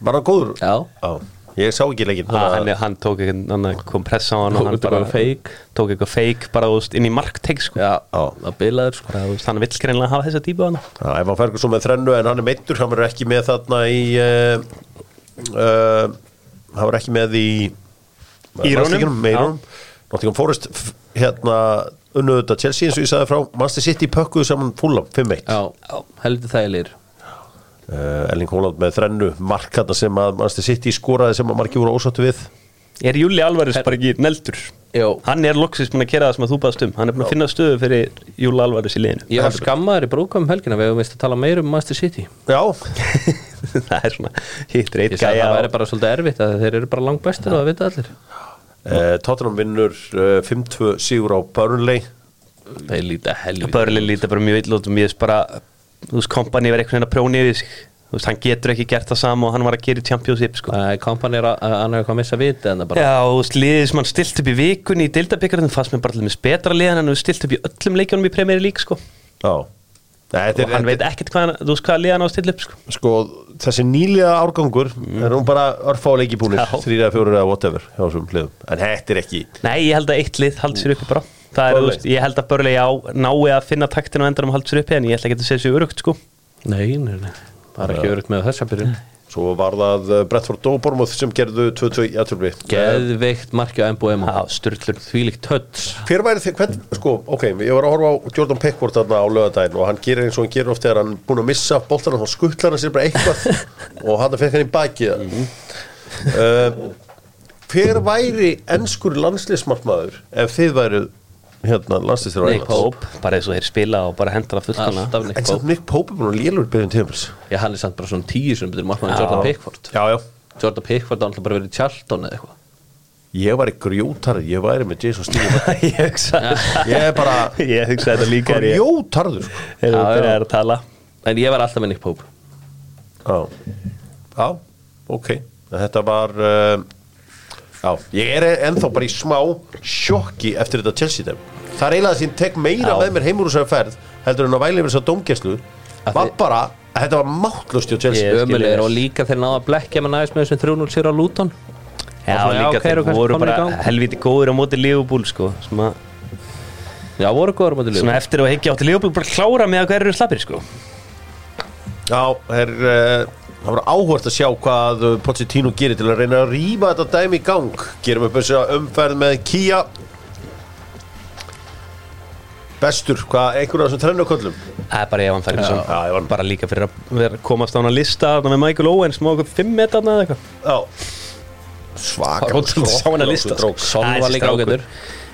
Speaker 1: Var hann góður?
Speaker 2: Já.
Speaker 1: Ég sá ekki leikinn
Speaker 3: Ah, hann,
Speaker 1: þannig að-
Speaker 3: hann tók eitthvað, hann kom press á hann og
Speaker 2: Tók
Speaker 3: hann
Speaker 2: eitthvað
Speaker 3: bara
Speaker 2: fake.
Speaker 3: tók eitthvað fake bara þú veist, inn í markteg sko.
Speaker 2: já, það bilaður sko
Speaker 3: bara, þú veist, hann vill greinlega hafa þessa típu hann
Speaker 1: Já, ef hann fergur svo með þrennu en hann er meittur hann verður ekki með þarna í uh, uh, hann verður ekki með í
Speaker 3: Írunum,
Speaker 1: Írunum Nottingham Forest f- hérna unnuðuða Chelsea eins og ég sagði frá Manchester City pökkuðu saman fúlam 5-1 uh,
Speaker 2: já, heldur þægilegir
Speaker 1: Erling Haaland Eh, með þrennu mark þarna sem að Manchester City skoraði sem að marki voru ósáttu við
Speaker 3: Er Júli Alvarez bara ekki neldur?
Speaker 2: Jó.
Speaker 3: Hann er loksins búin að kera það sem að þú baðast um Hann er búin að finna stöðu fyrir Júli Alvarez í liðinu
Speaker 2: ég var skammaður í brúkum helgina við hefum vist að tala meir um Master City
Speaker 1: Já,
Speaker 3: það er svona hittir eitt
Speaker 2: ég sagði að
Speaker 3: gæja á-
Speaker 2: það væri bara svolítið erfitt að þeir eru bara langt bestir og það vita allir
Speaker 1: uh, Tottenham vinnur uh, 5-2 sigur á Burnley
Speaker 2: þeir líta helvið
Speaker 3: Börlin líta bara mjög illa út og mér finnst bara þú veist, kompani verið einhvern veginn að prjóni yfir sig þú veist, hann getur ekki gert það sama og hann var að gera í Championship sko.
Speaker 2: kompan er að hann hefur komið að vita en það bara
Speaker 3: Já, og þú veist, liðið sem hann stilt upp í vikunni í deildabikarinn fannst mér bara allir með betra liðan en hann hefur stilt upp í öllum leikjónum í Premier League sko.
Speaker 1: Já Nei, þetta
Speaker 3: og hann veit ekkert hvað, hann- þú veist, hvað liðan á að stilla upp sko.
Speaker 1: sko, þessi nýlega árgangur er hún bara örfáleiki búinir
Speaker 3: Já.
Speaker 1: þrýra, fjóra eða whatever hjá þessum hliðum en þetta er ekki
Speaker 3: Nei, ég held að eitt lið haldi sér uppi bara Það er, þú
Speaker 1: Burnley.
Speaker 3: veist, ég held að Börli á nái að finna taktin og endanum haldi sér uppi en ég ætla ekki að segja sér örugt sko.
Speaker 2: nei, nei, nei, það er ekki örugt með þessa byrjun
Speaker 1: svo var það uh, Brentford og Bormuth sem gerðu 2-2 í aðtöfli
Speaker 2: geðveikt marki á MBM
Speaker 3: Já, styrlur
Speaker 2: þvílíkt höll
Speaker 1: hver væri þið, hvern, sko, ok ég var að horfa á Jordan Pickford þarna á lögadaginn og hann gerir eins og hann gerir oft þegar hann er búin að missa boltana þá skuttlar hann sér bara eitthvað og hann fekk hann í baki
Speaker 2: Mhm.
Speaker 1: uh, hver væri ennskur landslismartmaður ef þið væru hérna landslistur á
Speaker 2: Nick
Speaker 1: Englands
Speaker 2: Pope.
Speaker 3: Hóp, bara eins og þeir spila og bara henda það fullkona
Speaker 2: alltaf
Speaker 1: en
Speaker 2: Nick
Speaker 1: samt
Speaker 2: Pope
Speaker 1: Nick Pope er búin að lélur byrjun tímils
Speaker 2: ég hann er samt bara svona tíu sem byrjum markmann Jordan Pickford
Speaker 1: já, já
Speaker 2: Jordan Pickford hann bara verið í Charlton eða eitthvað
Speaker 1: ég væri grjótarður, ég væri með Jason Steele
Speaker 3: ég hugsa
Speaker 1: Ég er bara-
Speaker 3: Ég hugsa þetta líka er ég
Speaker 1: grjótarður sko.
Speaker 3: Er þú
Speaker 2: Já, já.
Speaker 3: byrjar að tala
Speaker 2: en ég var alltaf með Nick Pope
Speaker 1: Já, já, ok Þetta var uh, Já, ég er ennþá bara í smá sjokki eftir þetta Chelsea dem Það er eiginlega sem tek meira
Speaker 2: Já.
Speaker 1: með mér heimur úr þessari ferð heldur en að væli yfir þessar dómgæslu
Speaker 2: Að
Speaker 1: var
Speaker 2: þið-
Speaker 1: bara, að þetta var máttlust hjá Chelsea
Speaker 3: Ég skil
Speaker 2: ömulegur
Speaker 3: vel.
Speaker 2: og líka þeir náða að blekkja með næst með þessum 3-0 sér á Luton
Speaker 3: Já,
Speaker 2: Og svona,
Speaker 3: líka
Speaker 2: ok,
Speaker 3: þeir
Speaker 2: eru kannski
Speaker 3: voru
Speaker 2: komnir í
Speaker 3: bara
Speaker 2: gang.
Speaker 3: helviti góður á móti Liverpool sko sem að
Speaker 2: já, voru góður mútið
Speaker 3: Svona eftir að higgja átti Leopold bara klára með að hverju slappir sko
Speaker 1: Já, er, uh, það var áhvert að sjá hvað eh, Pochettino gerir til að reyna að rýma þetta dæmi í gang Gerum upp þessu umferð með Kia Bestur, hvað einhverjum af þessum trennuköllum
Speaker 3: Það er bara ef hann fær
Speaker 1: Já, ég var-
Speaker 3: bara líka fyrir að vera, komast á hann að lista þarna með Michael Owens má okkur 5 metra þarna eða eitthvað
Speaker 1: Já Svaka
Speaker 3: Rótund sá hann að lista sko.
Speaker 2: Son
Speaker 3: Það er
Speaker 2: var
Speaker 3: þessi
Speaker 2: líka
Speaker 3: strákur.
Speaker 2: ágætur.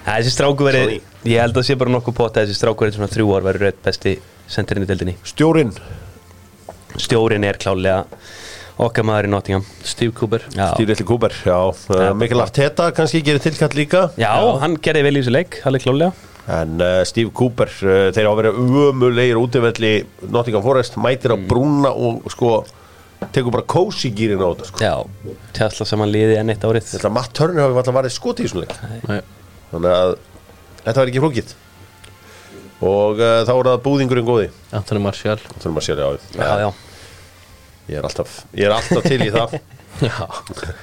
Speaker 3: Það er Þessi stráku
Speaker 1: Sorry.
Speaker 3: veri, ég held að sé bara nokkuð pott að þessi stráku veri svona þrjú ár verið rauð besti sendirinn í deildinni
Speaker 1: Stjórin
Speaker 3: Stjórin er klálega okkar maður í Nottingham
Speaker 2: Steve Cooper
Speaker 3: Já,
Speaker 1: Stýrið til Kúber, já uh, Mikil Arteta kannski gerir tilkall líka
Speaker 3: já hann gerði vel í þessu leik, alveg klálega
Speaker 1: En uh, Steve Cooper, uh, þeir á að vera umulegir útivelli Nottingham Forest Mætir á brúna og sko Tekur bara kósi gýrin á þetta sko
Speaker 3: Já, tjastla saman liði enn eitt árið
Speaker 1: Þetta Matt Turner hafi alltaf varðið skoti í svona leik
Speaker 2: Nei.
Speaker 1: Þannig að þetta var ekki flókið Og uh, þá er það búðingurinn góði
Speaker 2: Anthony Martial
Speaker 1: Það þurfum að sér já,
Speaker 3: Já, já,
Speaker 1: Ég er alltaf, ég er alltaf til í það
Speaker 2: já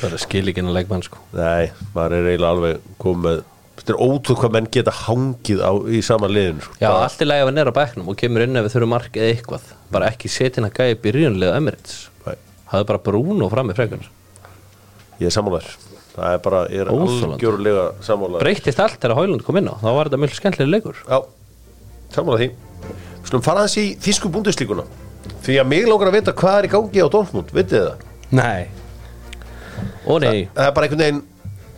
Speaker 2: það er skilíkinn að leikmann sko
Speaker 1: Nei, maður er eiginlega alveg komið Þetta er ótrúð hvað menn geta hangið á, í sama liðin sko.
Speaker 2: já, allt í lagi að vera nera á bekknum og kemur inn ef við þurfum mark eða eitthvað bara ekki setin að gæja byrjunlega Emirates
Speaker 1: Nei,
Speaker 2: það er bara Bruno fram með frekar
Speaker 1: Ég er sammálaður Það er bara, ég er
Speaker 2: Óþolandi.
Speaker 1: algjörlega sammálaður
Speaker 2: breytist allt þegar Hólund kom inn á þá var þetta mjög skemmtilega leikur
Speaker 1: Já, sammála því Slum fara aðeins í þýsku búndislíkuna Því að mig langar að vita hvað er í gangi á Dortmund Vitið þið það?
Speaker 3: nei
Speaker 2: og nei,
Speaker 1: Það er bara einhvern veginn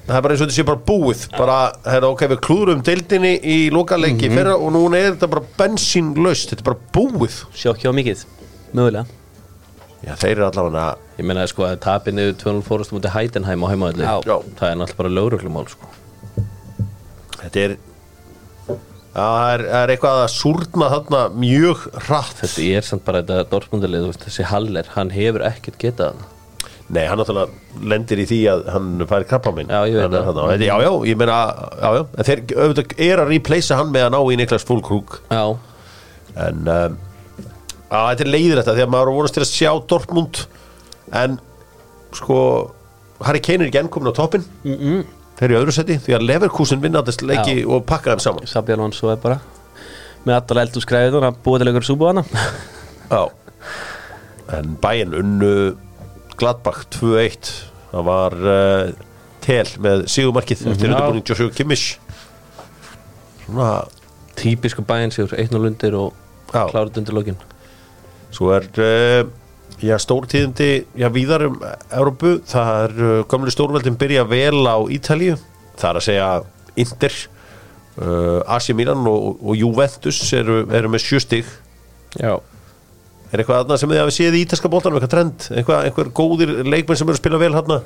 Speaker 1: Það er bara eins og þetta sé bara búið Bara, herra, ok, við klúðurum deildinni í lokaleiki
Speaker 2: Mhm.
Speaker 1: mm fyrra Og núna er þetta bara bensínlaust Þetta er bara búið
Speaker 3: Sjokk hjá mikið, mögulega
Speaker 1: Já, þeir eru allavega
Speaker 2: ég meina sko að tapin yfir 2-0 fórust mútið Heidenheim á heimaðli
Speaker 3: Já.
Speaker 1: Já.
Speaker 2: það er náttúrulega bara lögreglumál sko
Speaker 1: Þetta er Já, það er, það er eitthvað að súrna þarna mjög hratt
Speaker 2: þetta er samt bara þetta Dortmundalið þú veist, þessi Haller, hann hefur ekkert getað það
Speaker 1: Nei, hann náttúrulega lendir í því að hann fær krabba minn
Speaker 2: Já, ég veit það.
Speaker 1: það Já, já, ég meina, já, já en Þeir auðvitað er að replacea hann með að ná í Niklas Fúlkrúk
Speaker 2: já,
Speaker 1: En um, á, þetta er leiðir þetta Þegar maður voru til að sjá Dortmund En sko Harry Kane er ekki enn komin á toppin mm -mm. Þeir eru í öðru seti Því að Leverkusen vinna þess leiki og pakka þeim saman
Speaker 3: Sabi Alonso er bara með alltaf eldu skræðið og hann búið til einhverju súbu hana
Speaker 1: Já En bæinn unnu Gladbach 2-1 Það var uh, tel með sígumarkið eftir
Speaker 2: Já.
Speaker 1: undirbúning Joshua Kimmich Svona
Speaker 2: típisku bæinn sigur 1-0 undir og
Speaker 1: Já.
Speaker 2: klárat undir lokin
Speaker 1: Svo er uh, Já, stórtíðindi Já, víðar um Európu Það er uh, gamlu stórveldin byrja vel á Ítalíu Það er að segja Inter uh, Asi Milan og, og Juventus eru, eru með sjö stig
Speaker 2: já,
Speaker 1: Er eitthvað aðna sem þið hafið séð í ítalska bóltanum, eitthvað trend, eitthvað, eitthvað góðir leikmenn sem eru að spila vel hérna?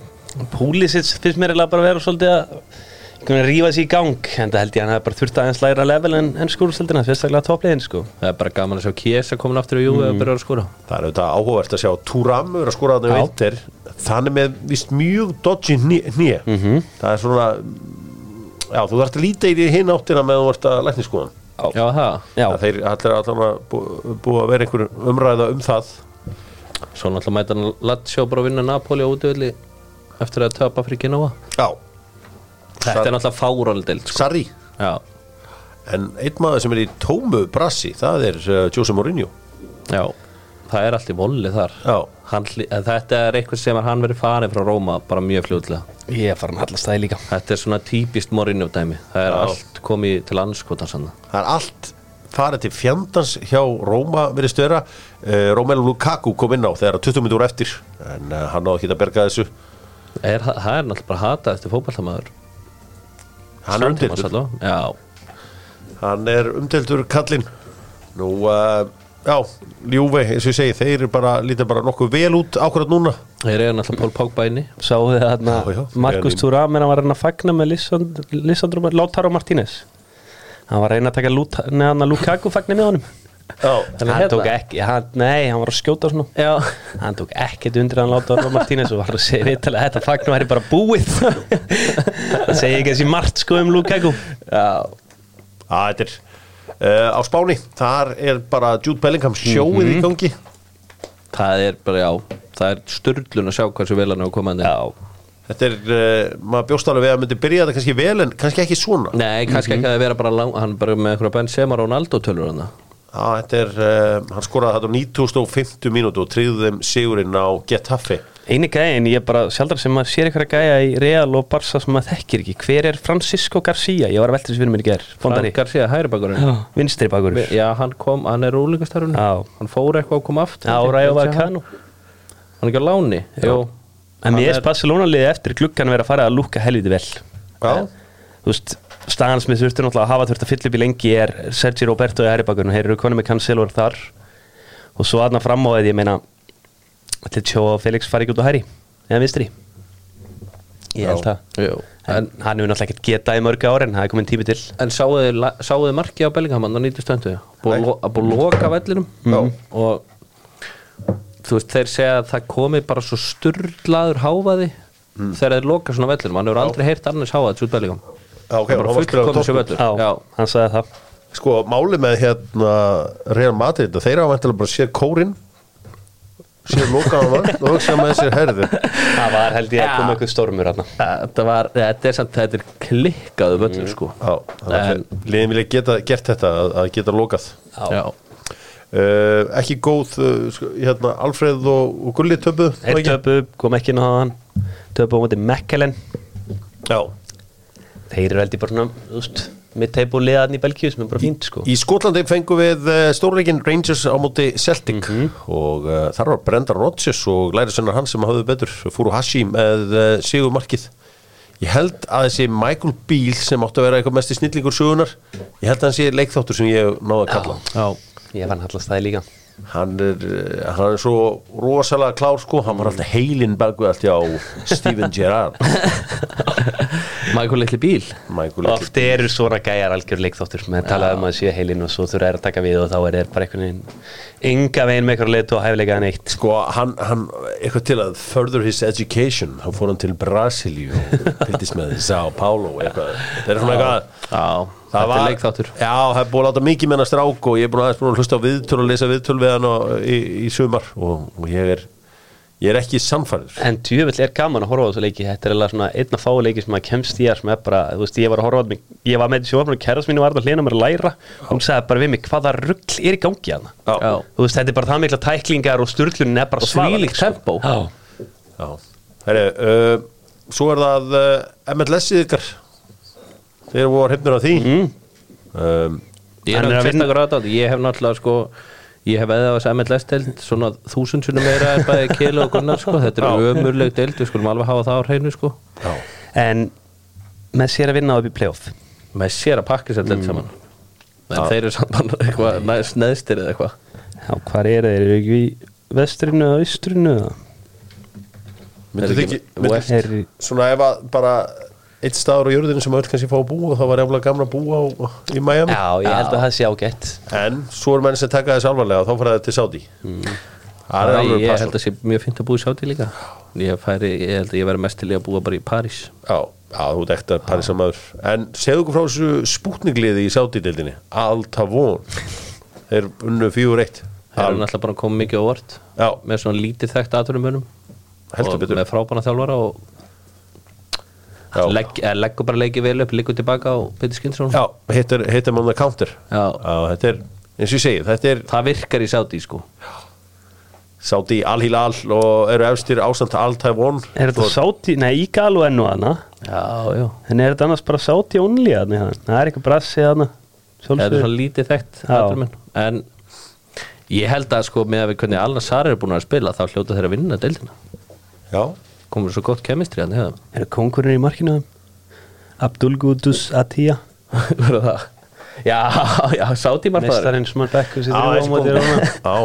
Speaker 3: Púlisits finnst mér eiginlega bara að vera svolítið að einhvern veginn rífa sig í gang en það held ég að hann hafi bara þurft aðeins læra level en, en skúrústöldina, sérstaklega topplegin sko Mm.
Speaker 2: það er bara gaman að sjá Kiesa komin aftur í Júve og byrjar að skora
Speaker 1: Það er auðvitað áhugavert að sjá Turam er að skora þarna í
Speaker 3: Já.
Speaker 1: vinter Þannig með vist mjög dodgy nýja
Speaker 3: Mhm.
Speaker 1: Það er svona Já, þú þarft að líta í því hinn áttina með þú vart að lækni skoðan
Speaker 2: já, það,
Speaker 3: Já,
Speaker 1: Það þeir allir allan að bú- búa að vera einhver umræða um það
Speaker 2: svo náttúrulega mæta hann Latsjó bara að vinna Napoli á útvöldi eftir að tapa fyrir Genova
Speaker 1: Já,
Speaker 2: þetta er náttúrulega fáraldeld sko.
Speaker 1: Sarri
Speaker 2: já,
Speaker 1: En einn maður sem er í tómu brassi Það er uh, Jose Mourinho
Speaker 2: já, það er allt í volli þar
Speaker 1: Já.
Speaker 2: Hann hlý- eh, þetta er eitthvað sem er hann verið farin frá Róma bara mjög fljóðlega
Speaker 3: ég er farin að hallast það líka
Speaker 2: þetta er svona típist Mourinho dæmi það er
Speaker 1: Já.
Speaker 2: allt komið til anskotan sann
Speaker 1: Það er allt farið til fjandans hjá Róma verið störa uh, Romelu Lukaku kom inn á þegar 20 minnur eftir En uh, hann náði ekki að berga þessu
Speaker 2: er, það það er náttúrulega bara hatað eftir fótballtamaður
Speaker 1: Hann er undir
Speaker 2: já,
Speaker 1: Hann er umdeltur kallinn Nú, uh, já, Júve, eins og ég segi, þeir eru bara, líta bara nokkuð vel út ákvörðat núna
Speaker 2: Þeir eru náttúrulega Pól Pogba inni
Speaker 3: Sáu þið þarna
Speaker 1: Já, já,
Speaker 3: Markus
Speaker 1: Elín.
Speaker 3: Thuram en hann var að reyna að fagna með Lissand- Lissandro Lautaro Martínez Hann var að reyna að taka Lut- nei, hann að Lukaku fagni með honum
Speaker 1: Já,
Speaker 2: Þannig
Speaker 3: Hann
Speaker 2: hérna.
Speaker 3: tók ekki, hann, nei, hann var að skjóta svona
Speaker 2: Já,
Speaker 3: Hann tók ekkert undir hann Lautaro Martínez og var að segja viðtalega þetta fagnu væri bara búið Það segi ekki þessi margt sko um Lukaku
Speaker 2: já
Speaker 1: Já, þetta er uh, á Spáni, þar er bara Jude Bellingham sjóið í gangi
Speaker 2: Það er bara, já, það er styrlun að sjá hversu vel hann er að koma hann
Speaker 3: Já,
Speaker 1: Þetta er, uh, maður bjóst alveg við að myndi byrja þetta kannski vel en kannski ekki svona
Speaker 2: Nei, kannski
Speaker 3: Mhm.
Speaker 2: ekki að það vera bara lang, hann er bara með einhverja Benzema Ronaldo tölur hann
Speaker 1: Já, þetta er, uh, hann skoraði þetta á 9050 mínútu og tryggði þeim sigurinn á Getafe
Speaker 3: eini gæðin, ég bara sjaldar sem maður sér einhverja gæja í Real og Barca sem maður þekkir ekki Hver er Francisco Garcia? Ég var að velta þessu fyrir mér í ger Fondari,
Speaker 2: Frankar sé að hæri bakurinn
Speaker 3: vinstri bakur
Speaker 2: Já, hann kom, hann er úlingastarfinu
Speaker 3: Já.
Speaker 2: Hann fór eitthvað og kom aftur
Speaker 3: Já, Rayo Vallecano.
Speaker 2: Hann er ekki á láni Jú
Speaker 3: En
Speaker 2: Hann
Speaker 3: mér
Speaker 2: er-
Speaker 3: er Barcelona liðið eftir klukkan vera að fara að lúka helviti vel
Speaker 1: Já,
Speaker 3: Þú veist, staðan sem þið þurftu náttúrulega að hafa þurft að fylla upp í lengi er Sergi Roberto í Hæribakurinn Þeir eru konum með Cancelo er þar Og svo aðna fram á því, ég meina Tjó og Felix fari ekki út á Hæri Eða vinstri Ég held
Speaker 1: Já.
Speaker 3: það
Speaker 2: Jú
Speaker 3: En
Speaker 2: En,
Speaker 3: hann hefur náttúrulega ekkert getað í mörg ári en það er komin tími til
Speaker 2: en sáuðu þið la- sáuð þið markið á Bellingham hann á 90 stöndu Búið að lo- að búið að loka vellinum
Speaker 1: Já.
Speaker 2: Og þú veist, þeir segja að það komi bara svo sturlaður hávaði Þegar þeir loka svona vellinum Hann hefur aldrei heyrt annars hávaðið svo Bellingham
Speaker 1: já ok,
Speaker 2: Það er
Speaker 1: hann
Speaker 2: bara
Speaker 1: var spilað á
Speaker 2: fullkomið
Speaker 1: toppnum.
Speaker 2: sér völlur
Speaker 3: Já, hann sagði það
Speaker 1: Sko, máli með hérna Real Madrid, þeir hafa vantilega bara séð kórin séð lokaðan var og hugsa með sér herði
Speaker 3: Það var held ég að
Speaker 2: Já.
Speaker 3: koma eitthvað stormur hann
Speaker 2: Þetta var, þetta er samt, þetta er klikkaðu völlur sko
Speaker 1: Já,
Speaker 2: En-
Speaker 1: liðin vilja geta gert þetta að, að geta lokað
Speaker 2: Já.
Speaker 1: Uh, ekki góð uh, sko- hérna, Alfreð og, og Gulli töpu
Speaker 3: Þeir töpu, kom ekki inn á hann Töpu á móti Mekkelen
Speaker 1: Já.
Speaker 3: Þeir eru held ég bara svona, þú veist Mitt teipu liðan í Belgíu sem er bara fínt sko
Speaker 1: í Skotlandi fengum við uh, stórleikin Rangers á móti Celtic og uh, þar var Brendan Rodgers og lærisennar hans sem hafði betur fúru Hashi með uh, sigur markið ég held að þessi Michael Beal sem átti að vera eitthvað mest í snillingur sögunar ég held að hann sé leikþáttur sem ég náði að kalla
Speaker 2: Já.
Speaker 3: Ég fann allast það líka
Speaker 1: hann er, uh, hann er svo rosalega klár sko, hann var alltaf heilinn bakvið allt hjá Steven Gerrard
Speaker 2: Michael litli bíl
Speaker 1: Michael Beal.
Speaker 3: Oft eru svona gæjar algjör leikþóttur Menn talaði um að séu heilin og svo þurfa er að taka við og þá er þeir bara einhvern veginn Enga veginn með eitthvað leitu og hæfilega en eitt
Speaker 1: Sko, hann, hann, eitthvað til að further his education, þá fór hann til Brasilíu og fylgdist með São Paulo eitthvað, það er svona eitthvað
Speaker 2: Já, þetta er leikþáttur
Speaker 1: Já, það er búið að láta mikið með hann að strák og ég er búin aðeins búin að hlusta á viðtöl og lesa viðtöl við hann og, í, í sumar og, og ég er ég er ekki samfæður
Speaker 3: En djöfull er gaman að horfa á þessu leiki Þetta er alveg svona einna fáu leiki sem maður kemst í að sem er bara, þú veist, ég var að horfa á þetta mig- Ég var með sjófnum kærast mínu var að hlena mér að læra Hún sagði bara við mig, hvaða rugl er í gangi hann
Speaker 1: Já.
Speaker 2: Já.
Speaker 3: Þú veist, þetta er bara það mikla tæklingar og sturlunin er bara
Speaker 2: Og þvílík tempó
Speaker 3: Já,
Speaker 1: Já, herri uh, Svo er það uh, MLS-ið ykkar Þeir voru hefnir af því
Speaker 2: Mhm.
Speaker 1: um,
Speaker 2: Ég er
Speaker 3: Hann er
Speaker 2: að
Speaker 3: að
Speaker 2: vinna
Speaker 3: vinna-
Speaker 2: gráta Ég hef náttúrulega sko Ég hef eða á þess MLS deild svona þúsundsunum meira en bæði Kili og Gunnar sko Þetta er ömurleg deild, við skulum alveg hafa það á hreinu sko
Speaker 1: Já,
Speaker 3: en með sér að vinna upp í playoff
Speaker 2: Maður sér að pakka sér
Speaker 1: Mm.
Speaker 2: deild saman En þeir eru samt bara eitthvað næst neðstir eða eitthvað
Speaker 3: Já, hvað er þeir, eru ekki í vestrinu eða austrinu eða?
Speaker 1: myndu þið ekki mynduð-
Speaker 2: West.
Speaker 3: Er í-
Speaker 1: svona ef að bara eitt staður á jörðinu sem öll kannski fá að búa þá var jafnlega gamla að búa á, í Miami
Speaker 3: Já, ég held að það sé ágætt
Speaker 1: en svo er menn sem taka þess alvarlega og þá fara það til Saudi það er
Speaker 2: Mm. Æ,
Speaker 1: alveg
Speaker 2: Ég
Speaker 1: passur
Speaker 2: held að sé mjög fint að búa í sáti líka Ég, færi, ég held að ég verði mest til í að búa bara í París
Speaker 1: já, já, þú ert ekta parísamaður en segðu okkur frá þessu spútningliði í Saudi-dildinni Al-Tavon þeir unnu fjögur eitt
Speaker 2: Það eru náttúrulega bara að koma mikið á vort
Speaker 1: Já.
Speaker 2: með svona lítið þekkt aðturumunum
Speaker 1: Heldur
Speaker 2: og
Speaker 1: betur.
Speaker 2: með frábæna þjálfara og
Speaker 1: Já.
Speaker 2: legg, eða leggur bara leikið vel upp, liggur tilbaka og Petur Skinnsson
Speaker 1: já, hittir, hittir mann að counter
Speaker 2: Já.
Speaker 1: þetta er, eins og ég segi, þetta er
Speaker 2: Það virkar í Saudi sko
Speaker 1: Saudi Al-Hilal og eru efstir ásamt Al-Tavon
Speaker 3: Er þetta sáti, nei, í galu ennu hana
Speaker 2: Já, já
Speaker 3: En er þetta annars bara sáti only hana Það er eitthvað brassi hana
Speaker 2: Það eru svona lítið þekkt
Speaker 3: Já.
Speaker 2: aðturumun en ég held að sko með að við hvernig Alna Sari er búin að spila þá hljóta þeir að vinna deildina
Speaker 1: já,
Speaker 2: komur svo gott kemistri hann hefðum
Speaker 3: Er það kongurinn í markinu? Abdul Gudus Atiyah
Speaker 2: Hvað er það? Já, já, sátímar það
Speaker 3: Mestarinn smör bekku sér
Speaker 1: Á,
Speaker 3: þrjú á
Speaker 1: þessi
Speaker 3: móti
Speaker 1: kóngur.
Speaker 3: Róna
Speaker 1: Á,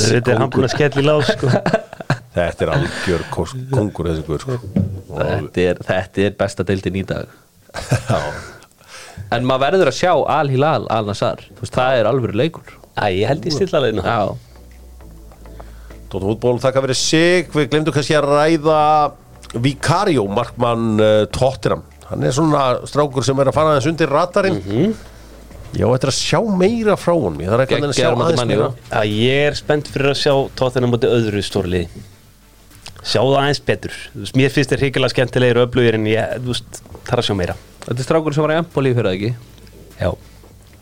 Speaker 3: Þetta er hann búin að skella í lás sko
Speaker 1: þetta er algjör kos- kongur þessi guður sko.
Speaker 2: þetta er, þetta er besta deildin í dag
Speaker 1: Já.
Speaker 2: En maður verður að sjá Al-Hilal, Al-Nassar Það er alvöru leikur
Speaker 3: Æ, ég held ég stilla leiðinu
Speaker 2: Já,
Speaker 1: Dóttu fútból, þakka fyrir sig Við glemdu kannski að ræða Vicario, markmann uh, Tottenham Hann er svona strákur sem er að fara aðeins undir radarinn mm -hmm. Já, þetta er að sjá meira frá honum Ég þarf ekki að sjá
Speaker 2: Geggjaður á móti
Speaker 1: aðeins
Speaker 2: manni,
Speaker 1: meira
Speaker 2: já.
Speaker 3: Já, ég er spennt fyrir að sjá tóttina múti öðru stórliði Sjá það aðeins betur Þú veist, Mér finnst þér hrikilega skemmtilegir og öflugir en ég, þú veist, þarf að sjá meira
Speaker 2: þetta er strákur sem var í Empoli fyrir það ekki
Speaker 3: Já,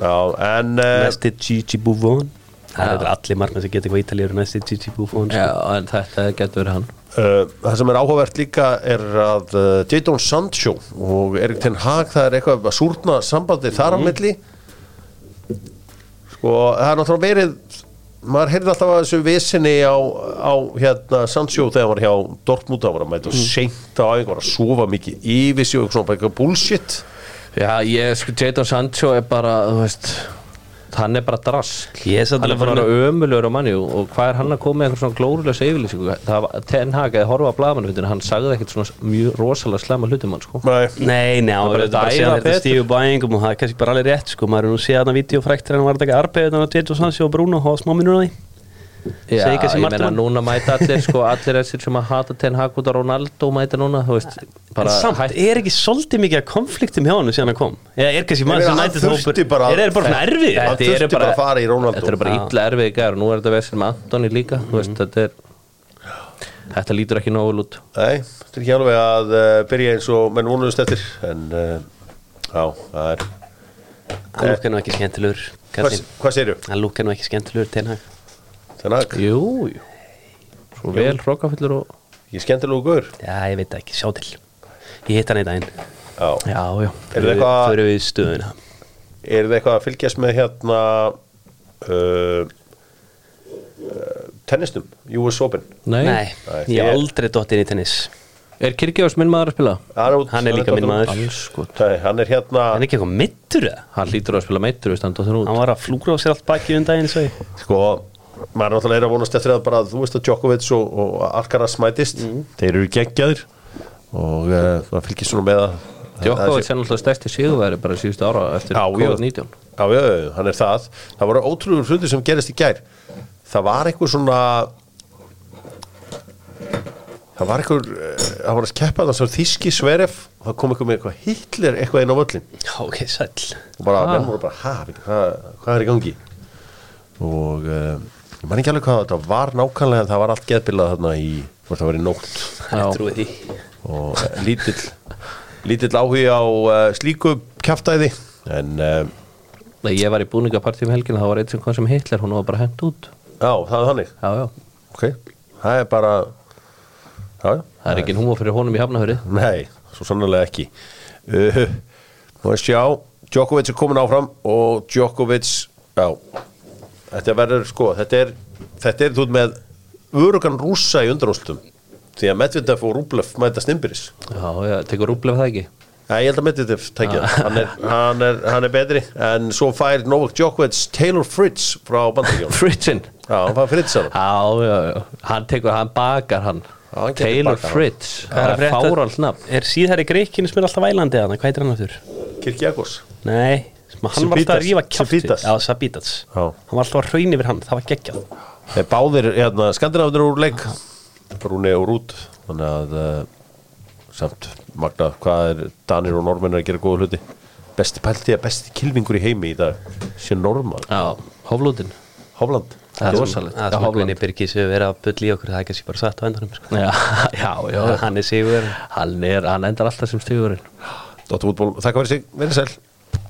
Speaker 1: Já, en uh,
Speaker 3: næsti Eh, Gigi Buffon Það eru allir margmenn sem geta hvað ítalið eru næsti Gigi Buffon sko.
Speaker 2: Já, en þetta getur verið hann
Speaker 1: Uh, það sem er áhugavert líka er að uh, Jadon Sancho og Erik Ten Hag það er eitthvað að súrna sambandi þar á milli sko það er náttúrulega verið maður heyrði alltaf að þessu vissinni á, á hérna Sancho þegar hann var hjá Dortmund það var að mæta mm. seint á aðeins var að sofa mikið yfir sig og svona bara eitthvað bullshit
Speaker 2: Já, ég, sko, Jadon Sancho er bara, þú veist hann er bara drask
Speaker 3: Ég er samt
Speaker 2: hann er
Speaker 3: alveg
Speaker 2: bara
Speaker 3: farinn
Speaker 2: ömulur á manni og hvað er hann að koma með einhver svona glórulega yfirlýsingu það var Ten Hag eða horfa að blaðmannfundinu hann sagði ekkert svona mjög rosalega slemma hlutum hann sko
Speaker 1: Nei.
Speaker 3: Nei, nei, hann verður
Speaker 2: bara
Speaker 3: þetta bara
Speaker 2: að
Speaker 3: að segja
Speaker 2: æfa
Speaker 3: þetta
Speaker 2: betur.
Speaker 3: stífu bæingum og það er kannski bara alveg rétt sko, maður er nú séð þarna vídeofrækt þegar hann var að taka arbeið þannig að Tjeto Sansi og Bruno hafa smá minnur á því
Speaker 2: Já,
Speaker 3: Segir kannski
Speaker 2: ég
Speaker 3: margt
Speaker 2: meina
Speaker 3: um hann.
Speaker 2: núna mæta allir sko allir þessir sem að hata Ten Hag út á Ronaldo mæta núna, þú veist bara
Speaker 3: en samt,
Speaker 2: hætt-
Speaker 3: er ekki svolítið mikið að konfliktum hjá hann síðan að kom? Eða er kannski
Speaker 1: Ég
Speaker 3: maður
Speaker 1: meina,
Speaker 3: sem
Speaker 1: hann
Speaker 3: nætti þópur
Speaker 1: þurfti bara-
Speaker 3: Er það bara svona erfið?
Speaker 1: Hann
Speaker 2: Þetta
Speaker 1: þurfti
Speaker 2: eru
Speaker 1: bara að fara í Ronaldo.
Speaker 2: Þetta er bara illa erfið í gær og nú er þetta vesinn með Antoni líka þú
Speaker 3: Mhm.
Speaker 2: veist, þetta er Þetta lítur ekki nógu vel út
Speaker 1: Nei, þetta er ekki alveg að uh, byrja eins og menn vonuðust eftir en uh, já, það er
Speaker 3: Hann lúkkar nú ekki skemmtilegur
Speaker 1: hvað,
Speaker 3: kallinn.
Speaker 1: hvað segirðu?
Speaker 3: Hann lúkkar nú ekki skemmtilegur til hann
Speaker 1: Þannig að
Speaker 2: Jú, jú Svo vel hrókafullur og
Speaker 1: ég er skemmtilegu guður
Speaker 3: Já, ég veit það ekki, sjá til Ég hitt hann í daginn
Speaker 1: Já,
Speaker 2: Já, já
Speaker 1: Er það eitthvað-
Speaker 3: Fyrir við í stöðuna
Speaker 1: Er þið eitthvað að fylgjast með hérna uh, uh, eh, tennistum, US Open?
Speaker 2: Nei,
Speaker 3: Nei,
Speaker 1: Nei,
Speaker 3: ég
Speaker 1: ég-
Speaker 3: hef aldrei dótt inn í tennis
Speaker 2: Er Kirkjós minn maður að spila?
Speaker 1: Hann er, út-
Speaker 3: Hann er líka minn maður.
Speaker 2: Allskot
Speaker 1: Nei, hann er hérna,
Speaker 3: Hann er ekki eitthvað mittur það
Speaker 2: Hann lítur að spila meittur, veist, hann dóttir út
Speaker 3: Hann var að flúra á sér allt baki um daginn svo ég
Speaker 1: sko, maður náttúrulega er að vonast eftir að bara, þú veist að Djokovic og, og Alcaraz mætist,
Speaker 3: Mhm.
Speaker 1: þeir eru geggjaðir og uh, maður fylgjast svona með að
Speaker 2: Djokovic er náttúrulega stærsti sigurveri bara síðustu ára eftir
Speaker 1: Já, já.
Speaker 2: COVID-19
Speaker 1: Já, já, já, hann er það Það voru ótrúður hlutir sem gerist í gær Það var eitthvað svona Það var eitthvað eh, Það var að keppa það sem þíski sveref og það kom eitthvað með eitthvað Hitler eitthvað inn á völlin
Speaker 3: Já, ok, sæll
Speaker 1: og bara,
Speaker 2: Ha.
Speaker 1: menn voru bara, ha, veitu, hvað, hvað er í gangi og uh, ég man ekki alveg hvað þetta var nákvæmlega en það var allt geðbilað þarna í hvort það var í nótt
Speaker 2: Já.
Speaker 3: Ég trúi því
Speaker 1: og eh, lítill lítill áhugi á uh, slíku kjaftæði en uh,
Speaker 2: Nei, ég var í búningapartíum helgina, það var eitt sem kom sem Hitler hún var bara hent út
Speaker 1: já, það er þannig
Speaker 2: Já, já,
Speaker 1: ok, það er bara já, já.
Speaker 2: það er ekki húma fyrir honum í hafnahöri
Speaker 1: nei, svo sannlega ekki uh, nú að sjá Djokovic er komin áfram og Djokovic já, þetta verður sko, þetta er þetta er þú ert með örugan rúsa í undanústum því að Medvedev og Rublev mætast innbyrðis
Speaker 2: Já, já, tekur rúblef það ekki
Speaker 1: Nei, ég held að Medvedev tækja ah. hann, er, hann, er, hann er betri en svo fær Novak Djokovic Taylor Fritz frá Bandaríkjónum
Speaker 2: Fritzin
Speaker 1: Já, hann fær Fritz hann
Speaker 2: Já, já, já, hann tekur, hann bakar hann
Speaker 1: Já, hann getur
Speaker 2: Taylor
Speaker 1: bakað hann.
Speaker 2: Fritz, það er fáralt nafn
Speaker 3: Er síðherri greikinu sem er alltaf vælandi hann Hvað heitir hann aftur?
Speaker 1: Kirkjagos
Speaker 3: Nei, sem að hann var
Speaker 1: Sabitas.
Speaker 3: alltaf að rífa kjátt
Speaker 1: Sabitas.
Speaker 3: Já, Sabitas
Speaker 1: Já.
Speaker 3: Hann var alltaf að hraun yfir hann, það var geggjað
Speaker 1: Þeir báðir hérna, skandinafunir úr leik Brúni úr út þannig að uh, samt magna hvað er Danir og Normenn að gera góða hluti besti pælti að besti kilvingur í heimi í dag sé Norman,
Speaker 2: Já, hoflútin
Speaker 1: Hofland
Speaker 2: Það er
Speaker 3: sem-
Speaker 2: rosalegt.
Speaker 3: Það
Speaker 2: Já,
Speaker 3: sem
Speaker 2: Hofland.
Speaker 3: Guðni Birgis hefur verið að bull í okkur Það er kannski bara satt á endanum sko.
Speaker 2: Já, já, já
Speaker 3: Hann er sigur
Speaker 2: Hann, er, hann endar alltaf sem stigurinn
Speaker 1: Dóttu útból, þakka fyrir sig, verið sæl